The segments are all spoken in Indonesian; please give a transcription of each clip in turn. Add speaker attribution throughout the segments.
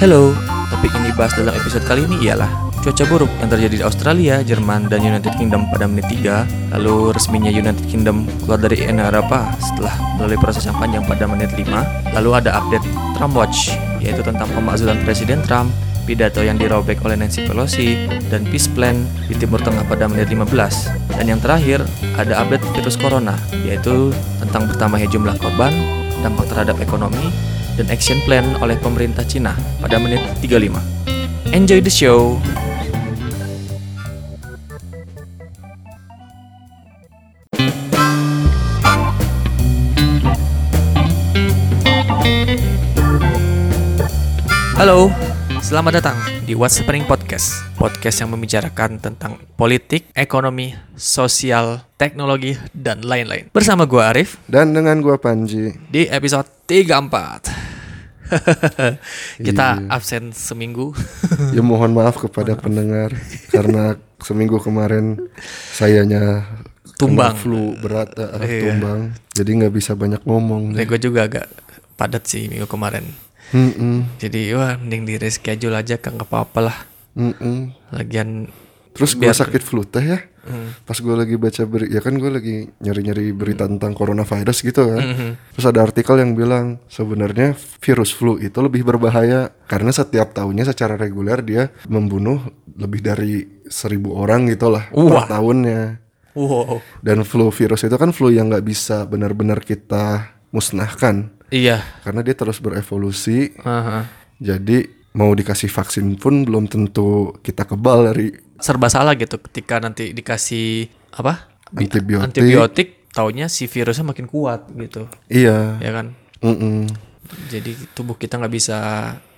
Speaker 1: Hello, topik yang dibahas dalam episode kali ini ialah cuaca buruk yang terjadi di Australia, Jerman, dan United Kingdom pada menit 3 Lalu resminya United Kingdom keluar dari Uni Eropa setelah melalui proses yang panjang pada menit 5 Lalu ada update Trump Watch, yaitu tentang pemakzulan Presiden Trump pidato yang dirobek oleh Nancy Pelosi, dan peace plan di Timur Tengah pada menit 15. Dan yang terakhir, ada update virus corona, yaitu tentang bertambahnya jumlah korban, dampak terhadap ekonomi, dan action plan oleh pemerintah Cina pada menit 35. Enjoy the show! Halo, selamat datang di What's Happening Podcast. Podcast yang membicarakan tentang politik, ekonomi, sosial, teknologi, dan lain-lain. Bersama gua Arif
Speaker 2: Dan dengan gua Panji.
Speaker 1: di episode 34. Kita absen seminggu.
Speaker 2: Ya
Speaker 1: Hmm.
Speaker 2: mohon maaf kepada pendengar karena seminggu kemarin sayanya kena
Speaker 1: Tumbang.
Speaker 2: flu berat eh,
Speaker 1: Iya.
Speaker 2: tumbang. Jadi nggak bisa banyak ngomong.
Speaker 1: Dan gue juga agak padat sih minggu kemarin.
Speaker 2: Mm-mm,
Speaker 1: Jadi wah mending di reschedule aja kan nggak apa-apa lah.
Speaker 2: mm-mm.
Speaker 1: Lagian
Speaker 2: Terus gua sakit flu teh ya.
Speaker 1: Hmm.
Speaker 2: Pas gua lagi baca beri, ya kan gua lagi nyari-nyari berita
Speaker 1: Hmm.
Speaker 2: tentang coronavirus gitu kan. Terus ada artikel yang bilang sebenarnya virus flu itu lebih berbahaya karena setiap tahunnya secara reguler dia membunuh lebih dari seribu orang gitulah
Speaker 1: Wah.
Speaker 2: per tahunnya.
Speaker 1: wow.
Speaker 2: Dan flu virus itu kan flu yang nggak bisa benar-benar kita musnahkan
Speaker 1: Iya.
Speaker 2: karena dia terus berevolusi.
Speaker 1: Aha.
Speaker 2: Jadi mau dikasih vaksin pun belum tentu kita kebal dari
Speaker 1: Serba salah gitu ketika nanti dikasih apa? Bi-
Speaker 2: Antibiotik.
Speaker 1: Antibiotik taunya si virusnya makin kuat gitu.
Speaker 2: iya.
Speaker 1: Ya kan?
Speaker 2: Mm-mm.
Speaker 1: Jadi tubuh kita nggak bisa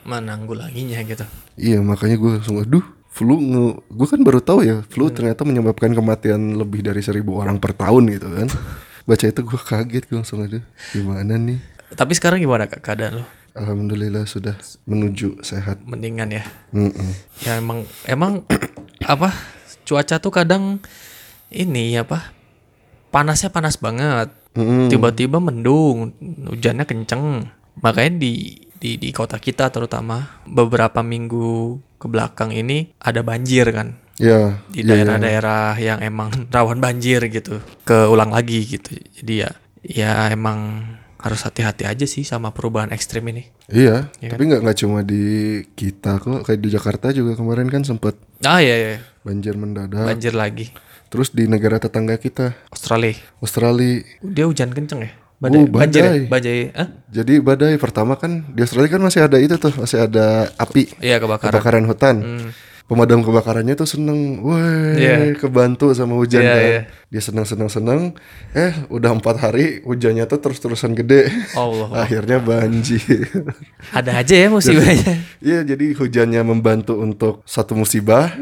Speaker 1: menanggulanginya gitu.
Speaker 2: Iya makanya gue langsung aduh flu nge- gue kan baru tahu ya
Speaker 1: Iya.
Speaker 2: flu ternyata menyebabkan kematian lebih dari seribu orang per tahun gitu kan. Baca itu gue kaget gue langsung aduh gimana nih.
Speaker 1: Tapi sekarang gimana Kak, keadaan lo?
Speaker 2: Alhamdulillah sudah menuju sehat.
Speaker 1: Mendingan ya.
Speaker 2: Mm-mm.
Speaker 1: Ya emang emang apa cuaca tuh kadang ini apa panasnya panas banget.
Speaker 2: Mm-mm.
Speaker 1: Tiba-tiba mendung, hujannya kenceng. Makanya di di di kota kita terutama beberapa minggu ke belakang ini ada banjir kan
Speaker 2: Ya.
Speaker 1: di
Speaker 2: iya, iya.
Speaker 1: daerah-daerah yang emang rawan banjir gitu keulang lagi gitu jadi ya ya emang harus hati-hati aja sih sama perubahan ekstrim ini
Speaker 2: Iya, tapi
Speaker 1: kan?
Speaker 2: nggak nggak cuma di kita kok, kayak di Jakarta juga kemarin kan sempet
Speaker 1: ah ya, ya.
Speaker 2: banjir mendadak.
Speaker 1: banjir lagi
Speaker 2: Terus di negara tetangga kita,
Speaker 1: Australia
Speaker 2: Australia.
Speaker 1: Dia hujan kenceng ya? Badai,
Speaker 2: Oh, badai.
Speaker 1: banjir ya? Badai, Hah?
Speaker 2: Jadi badai pertama kan di Australia kan masih ada itu tuh, masih ada api
Speaker 1: Iya kebakaran.
Speaker 2: kebakaran hutan. Pemadam kebakarannya tuh seneng, wah
Speaker 1: Hmm. Iya.
Speaker 2: kebantu sama hujan
Speaker 1: Iya,
Speaker 2: kan.
Speaker 1: iya.
Speaker 2: Dia seneng seneng seneng, eh udah empat hari hujannya tuh terus terusan gede.
Speaker 1: Allah.
Speaker 2: Akhirnya banjir.
Speaker 1: Ada aja ya musibahnya.
Speaker 2: Iya, jadi hujannya membantu untuk satu musibah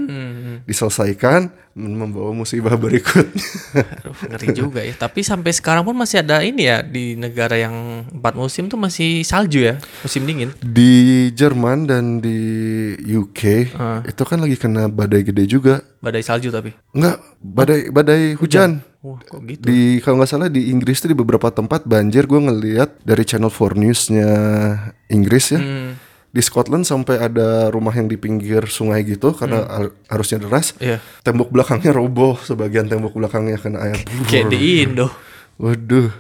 Speaker 2: diselesaikan mem- membawa musibah berikutnya.
Speaker 1: Aduh, ngeri juga ya. Tapi sampai sekarang pun masih ada ini ya di negara yang empat musim tuh masih salju ya, musim dingin.
Speaker 2: di Jerman dan di UK itu kan lagi kena badai gede juga.
Speaker 1: Badai salju tapi.
Speaker 2: Enggak, badai badai hujan.
Speaker 1: Wah, kok gitu?
Speaker 2: Di kalau nggak salah di Inggris tuh di beberapa tempat banjir gue ngeliat dari Channel 4 News-nya Inggris ya. Di Scotland sampai ada rumah yang di pinggir sungai gitu karena ar- arusnya deras.
Speaker 1: Iya.
Speaker 2: Tembok belakangnya roboh, sebagian tembok belakangnya kena air.
Speaker 1: Kayak di Indo.
Speaker 2: Waduh.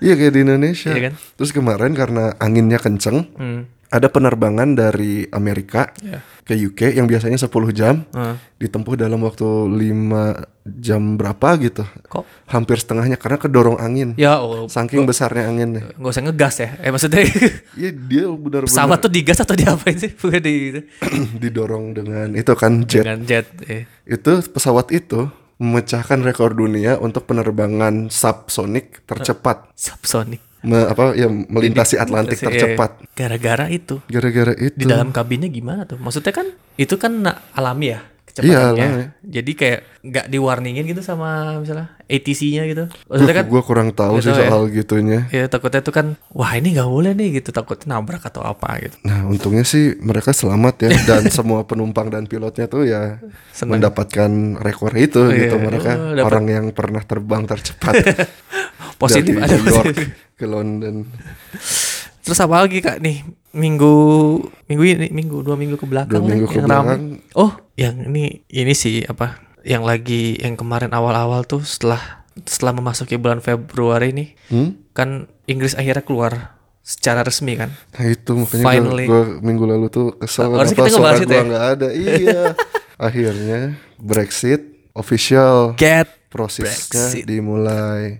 Speaker 2: iya kayak di Indonesia.
Speaker 1: Iya kan?
Speaker 2: Terus kemarin karena anginnya kenceng,
Speaker 1: Hmm.
Speaker 2: ada penerbangan dari Amerika
Speaker 1: Iya.
Speaker 2: ke UK yang biasanya 10 jam
Speaker 1: Hah.
Speaker 2: ditempuh dalam waktu 5 jam berapa gitu.
Speaker 1: Kok?
Speaker 2: Hampir setengahnya karena kedorong angin.
Speaker 1: Ya Allah.
Speaker 2: Saking besarnya anginnya.
Speaker 1: Gak usah ngegas ya. Eh maksudnya
Speaker 2: Iya dia benar-benar
Speaker 1: pesawat tuh digas atau diapain sih? Bukan di
Speaker 2: didorong dengan itu kan jet.
Speaker 1: dengan jet. Eh.
Speaker 2: Itu pesawat itu memecahkan rekor dunia untuk penerbangan subsonic tercepat.
Speaker 1: Subsonic.
Speaker 2: Me- apa ya melintasi Atlantik
Speaker 1: Terus, eh,
Speaker 2: tercepat.
Speaker 1: Gara-gara itu.
Speaker 2: Gara-gara itu.
Speaker 1: di dalam kabinnya gimana tuh? Maksudnya kan itu kan na- alami ya kecepatannya.
Speaker 2: Iya, alami.
Speaker 1: Jadi kayak nggak diwarningin gitu sama misalnya ATC-nya gitu. Maksudnya kan
Speaker 2: gue kurang tahu
Speaker 1: Nggak
Speaker 2: sih
Speaker 1: tahu ya.
Speaker 2: soal gitunya.
Speaker 1: ya takutnya tuh kan wah ini nggak boleh nih gitu takutnya nabrak atau apa gitu.
Speaker 2: Nah untungnya sih mereka selamat ya dan semua penumpang dan pilotnya tuh ya
Speaker 1: Senang.
Speaker 2: mendapatkan rekor itu
Speaker 1: Iya.
Speaker 2: gitu mereka
Speaker 1: Oh, dapat.
Speaker 2: orang yang pernah terbang tercepat
Speaker 1: Positif
Speaker 2: dari
Speaker 1: ada
Speaker 2: New York
Speaker 1: positif.
Speaker 2: ke London.
Speaker 1: Terus apa lagi Kak nih minggu minggu ini minggu dua minggu ke belakang
Speaker 2: Dua minggu
Speaker 1: yang
Speaker 2: kebelakang.
Speaker 1: rame. oh yang ini ini sih apa yang lagi yang kemarin awal-awal tuh setelah setelah memasuki bulan Februari nih
Speaker 2: Hmm?
Speaker 1: kan Inggris akhirnya keluar secara resmi kan
Speaker 2: Nah itu makanya gua-
Speaker 1: Finally.
Speaker 2: gua minggu lalu tuh kesel
Speaker 1: Harusnya
Speaker 2: kenapa
Speaker 1: kita ngebahas
Speaker 2: suara
Speaker 1: itu
Speaker 2: gua
Speaker 1: ya?
Speaker 2: nggak ada. Iya. Akhirnya Brexit official
Speaker 1: get
Speaker 2: prosesnya
Speaker 1: Brexit.
Speaker 2: dimulai.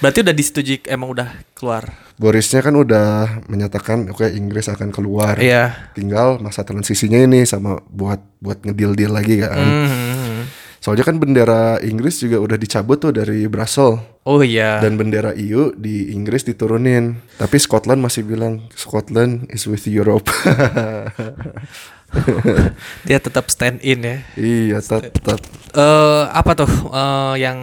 Speaker 1: berarti udah disetujui emang udah keluar
Speaker 2: Borisnya kan udah menyatakan oke Inggris akan keluar.
Speaker 1: iya
Speaker 2: Tinggal masa transisinya ini sama buat buat ngedil deal lagi kan.
Speaker 1: Mhm.
Speaker 2: Soalnya kan bendera Inggris juga udah dicabut tuh dari Brussels
Speaker 1: oh iya
Speaker 2: dan bendera EU di Inggris diturunin. Tapi Scotland masih bilang Scotland is with Europe.
Speaker 1: dia tetap stand in ya
Speaker 2: iya, tetap
Speaker 1: eh apa tuh eh, yang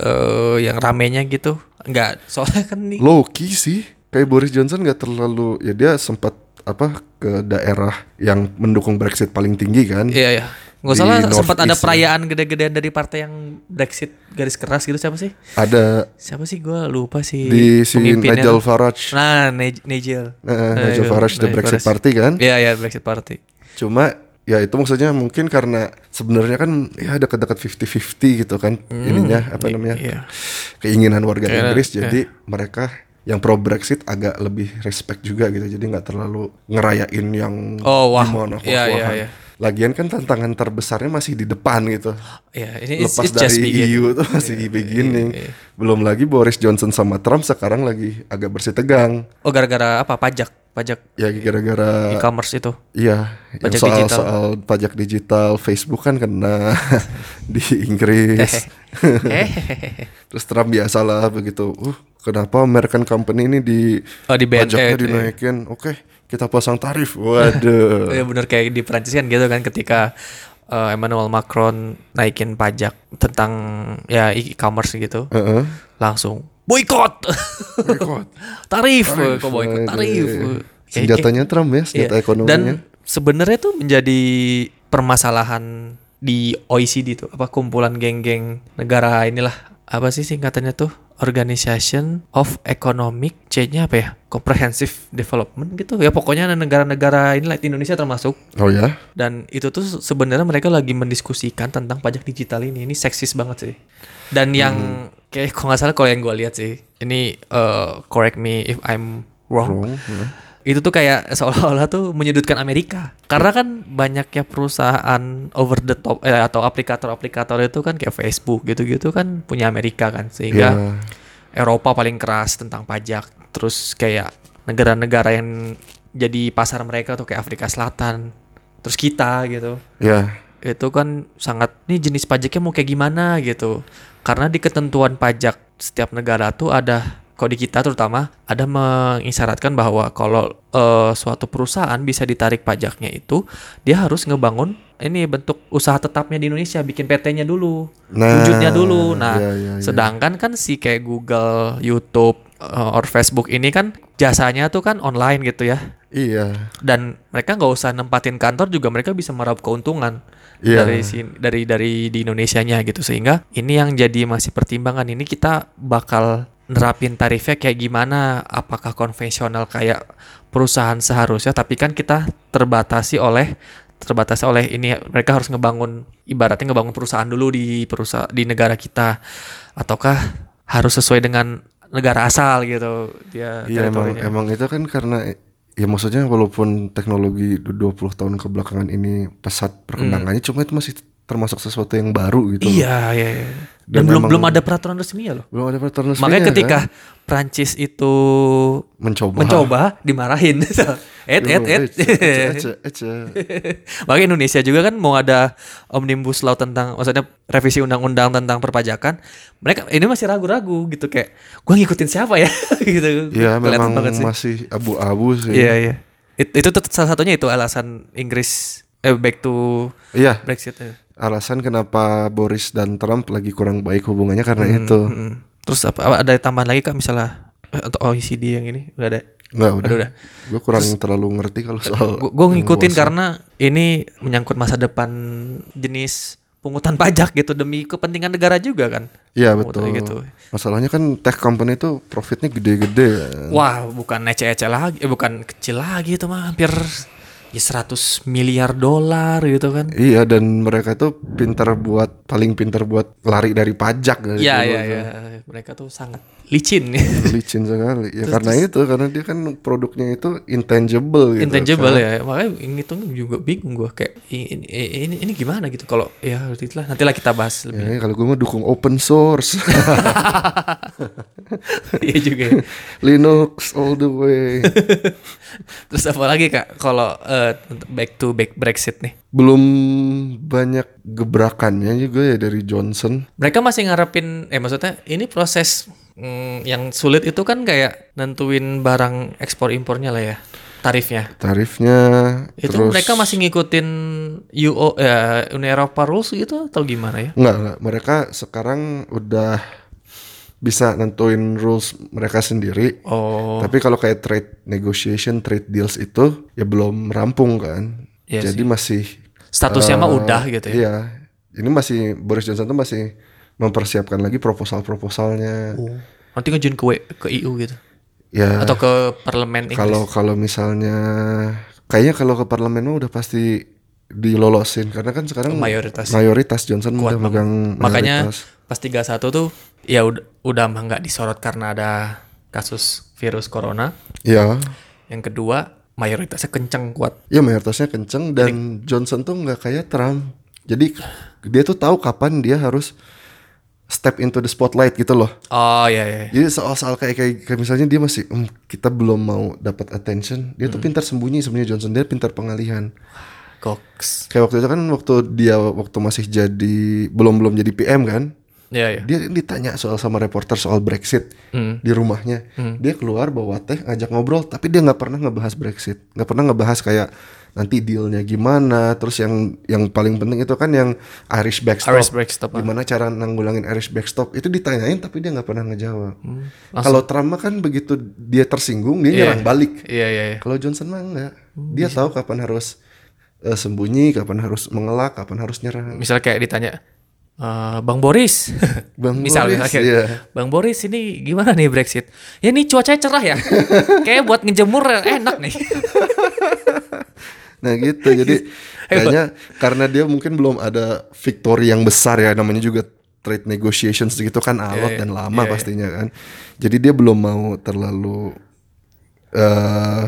Speaker 1: eh yang ramenya gitu nggak soalnya kan nih
Speaker 2: low key sih kayak Boris Johnson nggak terlalu ya dia sempat apa ke daerah yang mendukung Brexit paling tinggi kan
Speaker 1: iya ya nggak
Speaker 2: Di
Speaker 1: salah sempat ada
Speaker 2: Northeast ya.
Speaker 1: perayaan gede-gedean dari partai yang Brexit garis keras gitu siapa sih
Speaker 2: ada
Speaker 1: siapa sih gua lupa sih
Speaker 2: di si
Speaker 1: pemimpinnya
Speaker 2: Nigel
Speaker 1: tuh.
Speaker 2: Farage
Speaker 1: nah Nij- Nigel
Speaker 2: Eh, Nigel Farage the Brexit
Speaker 1: Farage.
Speaker 2: Party kan
Speaker 1: iya iya Brexit Party
Speaker 2: cuma ya itu maksudnya mungkin karena sebenarnya kan ya dekat-dekat 50-50 gitu kan ininya apa namanya
Speaker 1: Hmm, iya
Speaker 2: keinginan warga
Speaker 1: Keinginan,
Speaker 2: Inggris
Speaker 1: iya.
Speaker 2: jadi mereka yang pro Brexit agak lebih respect juga gitu jadi nggak terlalu ngerayain yang
Speaker 1: Oh, wah.
Speaker 2: gimana,
Speaker 1: Iya, iya,
Speaker 2: wah-wahan.
Speaker 1: iya.
Speaker 2: Lagian kan tantangan terbesarnya masih di depan gitu.
Speaker 1: Iya, ini it's,
Speaker 2: Lepas
Speaker 1: it's just
Speaker 2: dari
Speaker 1: begin.
Speaker 2: EU tuh masih beginning.
Speaker 1: iya, iya.
Speaker 2: Belum lagi Boris Johnson sama Trump sekarang lagi agak bersitegang.
Speaker 1: oh gara-gara apa pajak pajak
Speaker 2: Ya gara-gara
Speaker 1: e-commerce itu
Speaker 2: iya yang
Speaker 1: Pajak
Speaker 2: soal
Speaker 1: digital.
Speaker 2: soal pajak digital Facebook kan kena di Inggris.
Speaker 1: Eh. Hehehe.
Speaker 2: Terus Trump biasalah begitu. Uh, kenapa American company ini di
Speaker 1: oh di BNN
Speaker 2: pajaknya dinaikin? Oke, kita pasang tarif. Waduh.
Speaker 1: Ya bener kayak di Prancis kan gitu kan ketika eh, Emmanuel Macron naikin pajak tentang ya e-commerce gitu.
Speaker 2: Heeh.
Speaker 1: Langsung boykot.
Speaker 2: Boikot.
Speaker 1: tarif, eh, kok boykot
Speaker 2: Waduh.
Speaker 1: tarif.
Speaker 2: iya.
Speaker 1: Eh,
Speaker 2: Senjatanya Trump ya,
Speaker 1: kayak-
Speaker 2: senjata
Speaker 1: iya. Dan
Speaker 2: ekonominya.
Speaker 1: sebenarnya tuh menjadi permasalahan di OECD tuh apa kumpulan geng-geng negara inilah apa sih singkatannya tuh Organization of Economic C-nya apa ya? Comprehensive Development gitu. Ya pokoknya negara-negara inilah Indonesia termasuk
Speaker 2: Oh ya?
Speaker 1: dan itu tuh se- sebenarnya mereka lagi mendiskusikan tentang pajak digital ini ini seksis banget sih dan yang kayak kalau nggak salah kalau yang gue lihat sih ini uh, correct me if I'm wrong
Speaker 2: Wrong, ya.
Speaker 1: itu tuh kayak seolah-olah tuh menyudutkan Amerika karena kan banyaknya perusahaan over the top eh, atau aplikator-aplikator itu kan kayak Facebook gitu-gitu kan punya Amerika kan sehingga
Speaker 2: Ya.
Speaker 1: Eropa paling keras tentang pajak. Terus kayak negara-negara yang jadi pasar mereka tuh kayak Afrika Selatan. Terus kita gitu.
Speaker 2: Ya.
Speaker 1: Itu kan sangat nih jenis pajaknya mau kayak gimana gitu. Karena di ketentuan pajak setiap negara tuh ada kalau di kita terutama ada mengisyaratkan bahwa kalau eh, suatu perusahaan bisa ditarik pajaknya itu dia harus ngebangun ini bentuk usaha tetapnya di Indonesia bikin PT-nya dulu
Speaker 2: Nah,
Speaker 1: wujudnya dulu. Nah,
Speaker 2: ya, ya, ya.
Speaker 1: sedangkan kan si kayak Google, YouTube, eh, or Facebook ini kan jasanya tuh kan online gitu ya.
Speaker 2: Iya.
Speaker 1: Dan mereka nggak usah nempatin kantor juga mereka bisa meraup keuntungan
Speaker 2: Iya.
Speaker 1: dari sin- dari dari di Indonesianya gitu sehingga ini yang jadi masih pertimbangan ini kita bakal nerapin tarifnya kayak gimana apakah konvensional kayak perusahaan seharusnya tapi kan kita terbatasi oleh terbatas oleh ini mereka harus ngebangun ibaratnya ngebangun perusahaan dulu di perusahaan di negara kita ataukah harus sesuai dengan negara asal gitu dia
Speaker 2: Iya emang
Speaker 1: teritorinya.
Speaker 2: emang itu kan karena ya maksudnya walaupun teknologi 20 tahun kebelakangan ini pesat perkembangannya cuma itu masih termasuk sesuatu yang baru gitu. loh.
Speaker 1: Hmm. iya iya iya. dan,
Speaker 2: Dan
Speaker 1: belum
Speaker 2: memang-
Speaker 1: belum ada peraturan resmi ya loh
Speaker 2: Belum ada pattern resminya,
Speaker 1: makanya ketika
Speaker 2: kan?
Speaker 1: Prancis itu
Speaker 2: mencoba
Speaker 1: mencoba dimarahin et et et
Speaker 2: Ece, ece,
Speaker 1: makanya Indonesia juga kan mau ada omnibus law tentang maksudnya revisi undang-undang tentang perpajakan mereka ini masih ragu-ragu gitu kayak gua ngikutin siapa ya gitu
Speaker 2: Iya
Speaker 1: Kelihatan
Speaker 2: memang masih abu-abu sih.
Speaker 1: iya iya It- itu tetap salah satunya itu alasan Inggris eh back to
Speaker 2: Iya,
Speaker 1: Brexit ya.
Speaker 2: alasan kenapa Boris dan Trump lagi kurang baik hubungannya karena
Speaker 1: Hmm.
Speaker 2: itu.
Speaker 1: Mm-mm. terus apa, apa ada tambahan lagi kak misalnya eh, atau OECD yang ini udah ada
Speaker 2: Enggak udah.
Speaker 1: Aduh, udah.
Speaker 2: Gue kurang terlalu ngerti kalau soal
Speaker 1: gue ngikutin karena ini menyangkut masa depan jenis pungutan pajak gitu demi kepentingan negara juga kan
Speaker 2: Iya
Speaker 1: Oh,
Speaker 2: betul.
Speaker 1: kayak gitu.
Speaker 2: Masalahnya kan tech company itu profitnya gede-gede kan.
Speaker 1: Wah, bukan ece-ece lagi, eh, bukan kecil lagi itu mah hampir ya 100 miliar dolar gitu kan.
Speaker 2: Iya dan mereka tuh pinter buat paling pinter buat lari dari pajak dari
Speaker 1: Iya,
Speaker 2: dulu
Speaker 1: iya,
Speaker 2: kan.
Speaker 1: iya. Mereka tuh sangat licin.
Speaker 2: Licin sekali. Ya karena itu karena dia kan produknya itu intangible gitu.
Speaker 1: Intangible
Speaker 2: kan.
Speaker 1: ya. Makanya ngitungnya juga bingung gua kayak ini ini, ini gimana gitu kalau ya itulah nantilah kita bahas lebih.
Speaker 2: Ya, kalau gue mah dukung open source,
Speaker 1: Iya juga. ya.
Speaker 2: Linux all the way.
Speaker 1: Terus apa lagi Kak kalau eh, untuk back to back Brexit nih?
Speaker 2: Belum banyak gebrakannya juga ya dari Johnson.
Speaker 1: Mereka masih ngarepin eh maksudnya ini proses mm, yang sulit itu kan kayak nentuin barang ekspor impornya lah ya tarifnya.
Speaker 2: Tarifnya
Speaker 1: Itu
Speaker 2: terus
Speaker 1: mereka masih ngikutin UO eh, Uni Eropa rules gitu atau gimana ya?
Speaker 2: Enggak, enggak. mereka sekarang udah bisa nentuin rules mereka sendiri.
Speaker 1: Oh,
Speaker 2: Tapi kalau kayak trade negotiation, trade deals itu ya belum rampung kan.
Speaker 1: Iya
Speaker 2: Jadi masih
Speaker 1: statusnya mah
Speaker 2: eh,
Speaker 1: udah gitu ya.
Speaker 2: Iya. Ini masih Boris Johnson tuh masih mempersiapkan lagi proposal-proposalnya.
Speaker 1: Oh. Nanti ngajuin ke W- ke EU gitu
Speaker 2: Ya
Speaker 1: atau ke parlemen Inggris.
Speaker 2: kalau kalau misalnya kayaknya kalau ke parlemen mah udah pasti dilolosin karena kan sekarang
Speaker 1: Mayoritas.
Speaker 2: mayoritas Johnson
Speaker 1: Kuat
Speaker 2: udah megang
Speaker 1: Makanya
Speaker 2: mayoritas.
Speaker 1: pas 31 tuh ya udah, udah mah nggak disorot karena ada kasus virus corona.
Speaker 2: ya
Speaker 1: Yang kedua mayoritasnya kenceng kuat.
Speaker 2: Ya mayoritasnya kenceng dan Johnson tuh nggak kayak Trump. Jadi dia tuh tahu kapan dia harus step into the spotlight gitu loh.
Speaker 1: Oh ya ya.
Speaker 2: Jadi soal-soal kayak, kayak kayak misalnya dia masih "Hmm, kita belum mau dapat attention. Dia tuh pintar sembunyi sebenarnya Johnson dia pintar pengalihan.
Speaker 1: Goks.
Speaker 2: Kayak waktu itu kan waktu dia waktu masih jadi belum belum jadi PM kan.
Speaker 1: Ya ya.
Speaker 2: Dia ditanya soal sama reporter soal Brexit
Speaker 1: Hmm.
Speaker 2: di rumahnya. Dia keluar bawa teh, ngajak ngobrol, tapi dia nggak pernah ngebahas Brexit, nggak pernah ngebahas kayak nanti dealnya gimana, terus yang yang paling penting itu kan yang Irish backstop,
Speaker 1: Irish backstop, ah.
Speaker 2: gimana cara nanggulangin Irish backstop itu ditanyain tapi dia nggak pernah ngejawab. Kalau Trump mah kan begitu dia tersinggung dia nyerang balik.
Speaker 1: Hmm. Iya iya. Hmm, iya.
Speaker 2: Kalau Johnson mah enggak, dia tahu kapan harus eh, sembunyi, kapan harus mengelak, kapan harus nyerang.
Speaker 1: Misal kayak ditanya "Eh, Bang Boris.
Speaker 2: Bang
Speaker 1: Misal,
Speaker 2: Boris,
Speaker 1: misal kayak,
Speaker 2: iya.
Speaker 1: Bang Boris ini gimana nih Brexit? Ya ini cuacanya cerah ya. kayak buat ngejemur enak nih.
Speaker 2: Nah gitu, jadi kayaknya karena dia mungkin belum ada victory yang besar ya, namanya juga trade negotiations gitu kan
Speaker 1: Iya,
Speaker 2: alot dan lama pastinya kan. Jadi dia belum mau terlalu eh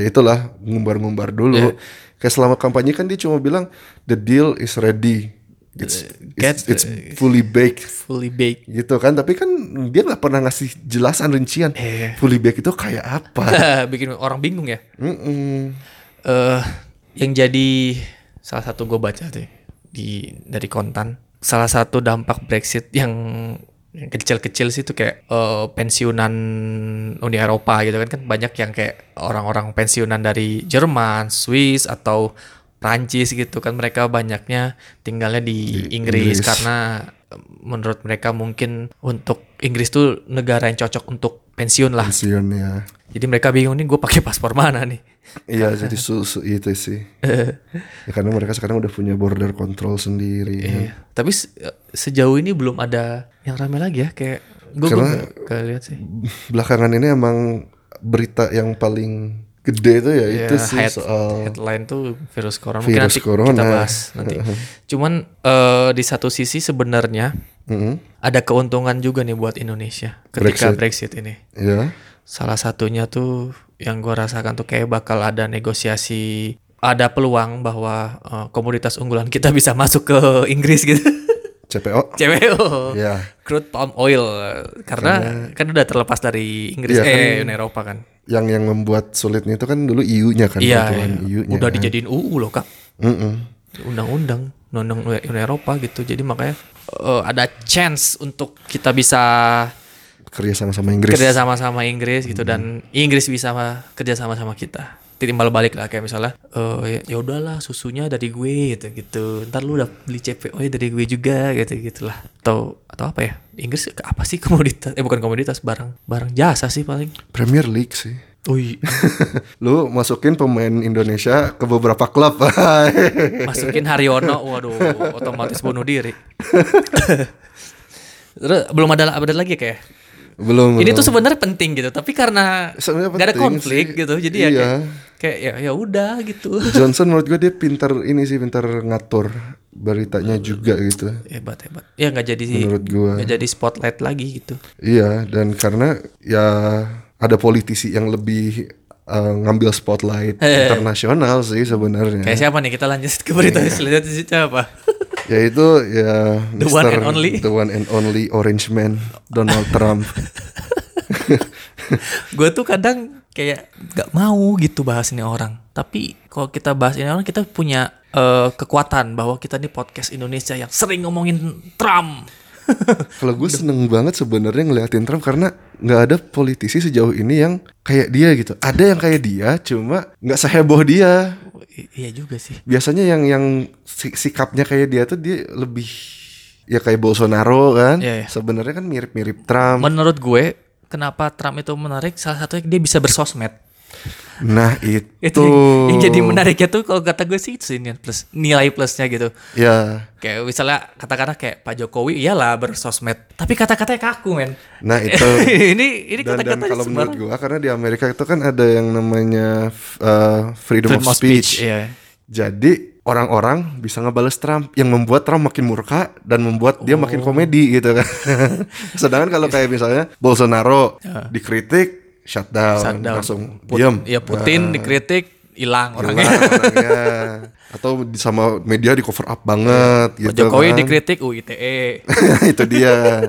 Speaker 2: ya itulah ngumbar-ngumbar dulu.
Speaker 1: Iya.
Speaker 2: Kayak selama kampanye kan dia cuma bilang the deal is ready, it's
Speaker 1: Get- eh,
Speaker 2: it's, it's fully baked
Speaker 1: Fully baked.
Speaker 2: gitu kan. Tapi kan dia nggak pernah ngasih jelasan rincian
Speaker 1: Iya.
Speaker 2: fully baked itu kayak apa.
Speaker 1: Bikin orang bingung ya.
Speaker 2: Mm-mm.
Speaker 1: eh yang jadi salah satu gue baca tuh ya, di dari kontan salah satu dampak Brexit yang yang kecil-kecil sih tuh kayak eh, pensiunan Uni Eropa gitu kan kan banyak yang kayak orang-orang pensiunan dari Jerman, Swiss atau Prancis gitu kan mereka banyaknya tinggalnya di,
Speaker 2: Di
Speaker 1: Inggris,
Speaker 2: Inggris.
Speaker 1: karena eh, menurut mereka mungkin untuk Inggris tuh negara yang cocok untuk pensiun lah.
Speaker 2: Pensiun ya.
Speaker 1: Jadi mereka bingung nih gue pakai paspor mana nih.
Speaker 2: Iya jadi susu itu sih ya, Karena mereka sekarang udah punya border control sendiri ya.
Speaker 1: Iya. Tapi se- sejauh ini belum ada yang rame lagi ya kayak gue
Speaker 2: Karena-
Speaker 1: gak lihat sih.
Speaker 2: Belakangan ini emang berita yang paling gede itu ya itu
Speaker 1: Ya,
Speaker 2: sih
Speaker 1: head-
Speaker 2: soal
Speaker 1: headline tuh virus corona.
Speaker 2: Virus
Speaker 1: nanti
Speaker 2: corona.
Speaker 1: kita bahas nanti. Cuman eh, di satu sisi sebenarnya
Speaker 2: Mm-mm.
Speaker 1: ada keuntungan juga nih buat Indonesia ketika Brexit, ini.
Speaker 2: Ya
Speaker 1: Salah satunya tuh yang gue rasakan tuh kayak bakal ada negosiasi, ada peluang bahwa eh, komoditas unggulan kita bisa masuk ke Inggris gitu.
Speaker 2: CPO
Speaker 1: Oh. CWO.
Speaker 2: Ya
Speaker 1: crude palm oil karena, kan udah terlepas dari Inggris
Speaker 2: Iya,
Speaker 1: eh Uni Eropa kan.
Speaker 2: yang yang membuat sulitnya itu kan dulu EU-nya kan
Speaker 1: Iya,
Speaker 2: peraturan
Speaker 1: iya.
Speaker 2: EU-nya
Speaker 1: udah
Speaker 2: kan.
Speaker 1: dijadiin UU loh Kak.
Speaker 2: Mm-mm.
Speaker 1: Undang-undang, undang Uni Eropa gitu. Jadi makanya eh, ada chance untuk kita bisa
Speaker 2: kerja sama sama Inggris
Speaker 1: kerja sama sama Inggris gitu dan Inggris bisa ma- kerja sama sama kita. Timbal balik lah kayak misalnya eh, ya- ya udahlah susunya dari gue gitu gitu. Ntar lu udah beli CPO -nya dari gue juga gitu gitulah. Atau atau apa ya? Inggris apa sih komoditas? Eh bukan komoditas, barang barang jasa sih paling.
Speaker 2: Premier League sih
Speaker 1: Ui,
Speaker 2: lu masukin pemain Indonesia ke beberapa klub
Speaker 1: masukin Haryono, waduh, otomatis bunuh diri. Terus belum ada update lagi kayak.
Speaker 2: Belum.
Speaker 1: Ini
Speaker 2: belum.
Speaker 1: tuh sebenarnya penting gitu, tapi karena
Speaker 2: Sebenarnya
Speaker 1: nggak ada
Speaker 2: penting
Speaker 1: konflik
Speaker 2: sih.
Speaker 1: gitu, jadi ya
Speaker 2: Iya.
Speaker 1: kayak, kayak ya ya udah gitu.
Speaker 2: Johnson menurut gue dia pintar ini sih pintar ngatur beritanya juga gitu.
Speaker 1: hebat hebat. Ya nggak jadi
Speaker 2: Menurut gua.
Speaker 1: nggak jadi spotlight lagi gitu.
Speaker 2: Iya, dan karena ya ada politisi yang lebih eh, ngambil spotlight internasional sih
Speaker 1: Kayak
Speaker 2: sebenarnya.
Speaker 1: siapa nih kita lanjut ke berita
Speaker 2: Iya.
Speaker 1: selanjutnya siapa?
Speaker 2: Yaitu ya
Speaker 1: The one and only.
Speaker 2: The one and only Orange Man Donald Trump.
Speaker 1: gue tuh kadang kayak nggak mau gitu bahas ini orang tapi kalau kita bahas ini orang kita punya eh, kekuatan bahwa kita nih podcast Indonesia yang sering ngomongin Trump
Speaker 2: Kalau gue seneng banget sebenarnya ngeliatin Trump karena nggak ada politisi sejauh ini yang kayak dia gitu. Ada yang kayak dia, cuma nggak seheboh dia.
Speaker 1: I- iya juga sih
Speaker 2: Biasanya yang yang si- sikapnya kayak dia tuh dia lebih ya kayak Bolsonaro kan.
Speaker 1: Iya, iya.
Speaker 2: Sebenarnya kan mirip-mirip Trump.
Speaker 1: menurut gue kenapa Trump itu menarik salah satunya dia bisa bersosmed
Speaker 2: Nah itu,
Speaker 1: itu yang, yang jadi menariknya tuh kalau kata gue sih itu sih niat plus nilai plusnya gitu
Speaker 2: Ya,
Speaker 1: kayak misalnya kata-kata kayak Pak Jokowi iyalah bersosmed tapi kata-katanya kaku men
Speaker 2: nah itu.
Speaker 1: ini ini
Speaker 2: dan, dan
Speaker 1: kata-kata
Speaker 2: kalau menurut gua karena di Amerika itu kan ada yang namanya f- uh, freedom, of speech.
Speaker 1: iya.
Speaker 2: Jadi orang-orang bisa ngebales Trump yang membuat Trump makin murka dan membuat dia makin
Speaker 1: Oh.
Speaker 2: komedi gitu kan. Sedangkan kalau kayak misalnya Bolsonaro dikritik shutdown,
Speaker 1: Ya. Shutdown.
Speaker 2: langsung
Speaker 1: Put-
Speaker 2: diam. Nah. Iya,
Speaker 1: Ya Putin dikritik hilang
Speaker 2: Hilang
Speaker 1: orangnya.
Speaker 2: orangnya. Atau di- sama media di cover up banget
Speaker 1: Pak
Speaker 2: gitu.
Speaker 1: Jokowi
Speaker 2: kan.
Speaker 1: dikritik UITE.
Speaker 2: Itu dia.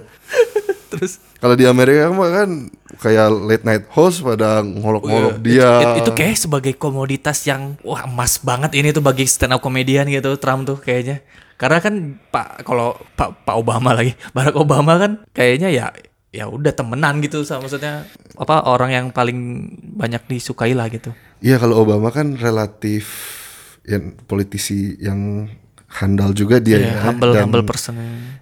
Speaker 1: Terus
Speaker 2: Kalau di Amerika mah kan kayak late night host pada ngolok-ngolok
Speaker 1: Itu-
Speaker 2: dia.
Speaker 1: Itu, iya. itu kayak sebagai komoditas yang wah emas banget ini tuh bagi stand up komedian gitu Trump tuh kayaknya. Karena kan Pak kalau Pak Pak Obama lagi, Barack Obama kan kayaknya ya ya udah temenan gitu sama maksudnya apa orang yang paling banyak disukai lah gitu.
Speaker 2: Iya kalau Obama kan relatif ya, politisi yang handal juga dia
Speaker 1: Ya,
Speaker 2: ya.
Speaker 1: humble
Speaker 2: Dan
Speaker 1: humble person.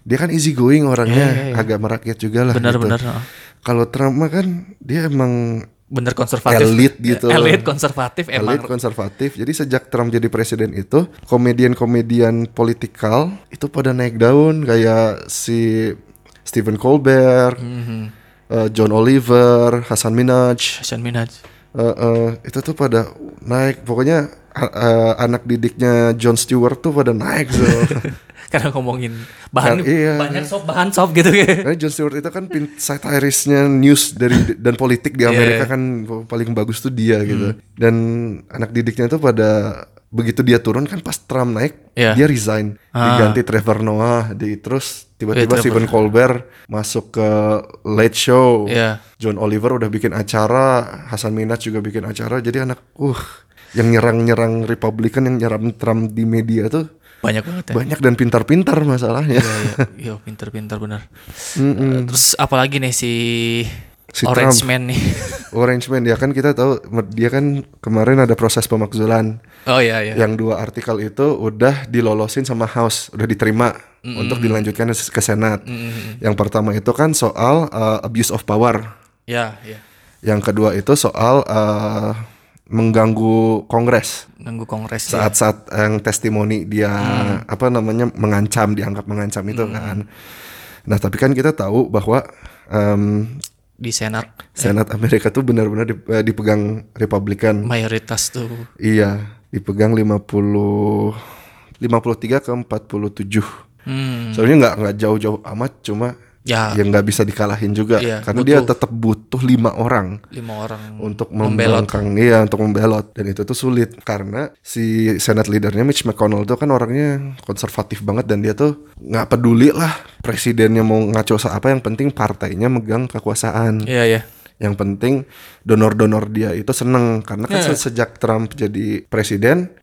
Speaker 2: Dia kan easy going orangnya,
Speaker 1: Iya, iya, iya.
Speaker 2: agak merakyat juga lah. gitu.
Speaker 1: Benar-benar. heeh.
Speaker 2: Kalau Trump mah kan dia emang
Speaker 1: Bener konservatif.
Speaker 2: Elit gitu.
Speaker 1: Elit konservatif
Speaker 2: elit
Speaker 1: emang
Speaker 2: konservatif. Jadi sejak Trump jadi presiden itu, komedian-komedian politikal itu pada naik daun kayak si Stephen Colbert, eh, John Oliver, Hasan Minhaj.
Speaker 1: Hasan Minhaj.
Speaker 2: Eh, eh, itu tuh pada naik pokoknya a- eh, anak didiknya John Stewart tuh pada naik so.
Speaker 1: karena ngomongin bahan
Speaker 2: Kan, iya.
Speaker 1: banyak sob bahan sob gitu
Speaker 2: Karena John Stewart itu kan pin satirisnya news dari dan politik di
Speaker 1: Iya.
Speaker 2: Amerika
Speaker 1: Hmm.
Speaker 2: kan paling bagus tuh dia gitu. Dan anak didiknya tuh pada begitu dia turun kan pas Trump naik
Speaker 1: Iya.
Speaker 2: dia resign
Speaker 1: Ah.
Speaker 2: diganti Trevor Noah di terus tiba-tiba
Speaker 1: Iya, Trevor.
Speaker 2: Stephen Colbert masuk ke Late Show.
Speaker 1: Iya.
Speaker 2: John Oliver udah bikin acara, Hasan Minhaj juga bikin acara. Jadi anak uh yang nyerang-nyerang Republikan yang nyerang Trump di media tuh
Speaker 1: banyak banget ya
Speaker 2: banyak dan pintar-pintar masalahnya.
Speaker 1: Iya, iya. iya pinter-pinter bener Eh,
Speaker 2: Mm-mm.
Speaker 1: terus apalagi nih si,
Speaker 2: Si
Speaker 1: Orange
Speaker 2: Trump.
Speaker 1: Man nih
Speaker 2: Orange Man ya kan kita tahu mer- dia kan kemarin ada proses pemakzulan
Speaker 1: oh iya iya
Speaker 2: yang dua artikel itu udah dilolosin sama House udah diterima untuk dilanjutkan ke Senat. Yang pertama itu kan soal uh, abuse of power,
Speaker 1: ya ya
Speaker 2: yang kedua itu soal uh, mengganggu Kongres
Speaker 1: nunggu kongres ya.
Speaker 2: saat-saat yang testimoni dia apa namanya mengancam dianggap mengancam itu kan. Nah tapi kan kita tahu bahwa em,
Speaker 1: di senat
Speaker 2: Senat Amerika tuh benar-benar dip- eh, dipegang Republikan.
Speaker 1: mayoritas tuh
Speaker 2: Iya, dipegang 50 53 ke 47.
Speaker 1: hmm
Speaker 2: Soalnya nggak nggak jauh-jauh amat cuma
Speaker 1: ya
Speaker 2: yang nggak bisa dikalahin juga
Speaker 1: Iya,
Speaker 2: karena
Speaker 1: butuh.
Speaker 2: dia tetap butuh lima orang
Speaker 1: lima orang
Speaker 2: untuk
Speaker 1: Membelot.
Speaker 2: membelotkan iya untuk membelot dan itu tuh sulit karena si senat leadernya Mitch McConnell tuh kan orangnya konservatif banget dan dia tuh nggak peduli lah presidennya mau ngaco apa yang penting partainya megang kekuasaan
Speaker 1: iya ya
Speaker 2: yang penting donor-donor dia itu seneng karena kan
Speaker 1: Iya,
Speaker 2: se- sejak Trump jadi presiden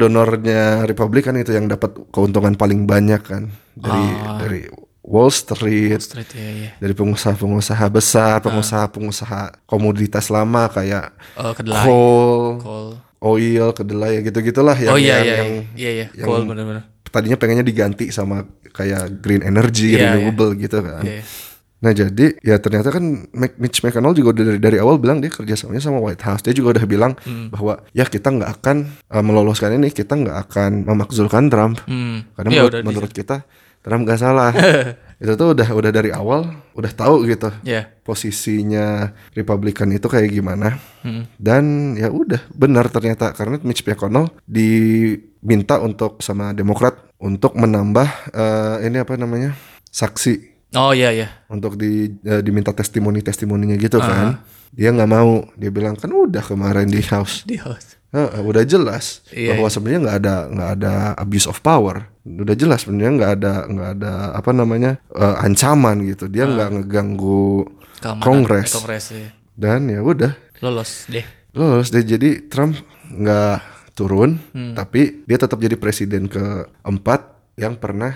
Speaker 2: donor-donornya Republikan itu yang dapat keuntungan paling banyak kan dari
Speaker 1: Ah.
Speaker 2: dari Wall Street,
Speaker 1: straight ya ya
Speaker 2: dari pengusaha-pengusaha
Speaker 1: Ah.
Speaker 2: besar, pengusaha-pengusaha komoditas lama kayak
Speaker 1: oh kedelai
Speaker 2: coal,
Speaker 1: Coal.
Speaker 2: oil, kedelai ya gitu-gitulah yang
Speaker 1: oh iya
Speaker 2: yang-
Speaker 1: iya
Speaker 2: yang
Speaker 1: iya iya
Speaker 2: yang-
Speaker 1: Coal bener-bener
Speaker 2: tadinya pengennya diganti sama kayak green
Speaker 1: Iya,
Speaker 2: energy,
Speaker 1: iya.
Speaker 2: renewable gitu kan.
Speaker 1: Iya, iya.
Speaker 2: Nah jadi ya ternyata kan Mac- Mitch McConnell juga udah dari, dari awal bilang dia kerjasamanya sama White House. Dia juga udah bilang
Speaker 1: Hmm.
Speaker 2: bahwa ya kita nggak eh, akan uh, meloloskan ini, kita nggak akan memakzulkan Trump.
Speaker 1: hmm
Speaker 2: Karena
Speaker 1: Iya,
Speaker 2: menurut,
Speaker 1: udah di-
Speaker 2: menurut kita Trump nggak salah. itu tuh udah udah dari awal udah tahu gitu
Speaker 1: Ya.
Speaker 2: posisinya Republikan itu kayak gimana.
Speaker 1: Hmm.
Speaker 2: Dan ya udah benar ternyata karena Mitch McConnell diminta untuk sama Demokrat untuk menambah eh, ini apa namanya saksi
Speaker 1: Oh iya iya.
Speaker 2: untuk di eh, diminta testimoni testimoninya gitu kan. Dia nggak mau. Dia bilang kan udah kemarin di House
Speaker 1: Di host.
Speaker 2: Heeh, udah jelas
Speaker 1: Iya,
Speaker 2: bahwa sebenarnya nggak ada nggak ada abuse of power. Udah jelas sebenarnya nggak ada nggak ada apa namanya eh, ancaman gitu. Dia nggak ngeganggu
Speaker 1: Keamanan.
Speaker 2: Kongres.
Speaker 1: Kongres iya.
Speaker 2: dan ya udah
Speaker 1: Lolos deh.
Speaker 2: lolos. Dia jadi Trump nggak turun, tapi dia tetap jadi presiden keempat yang pernah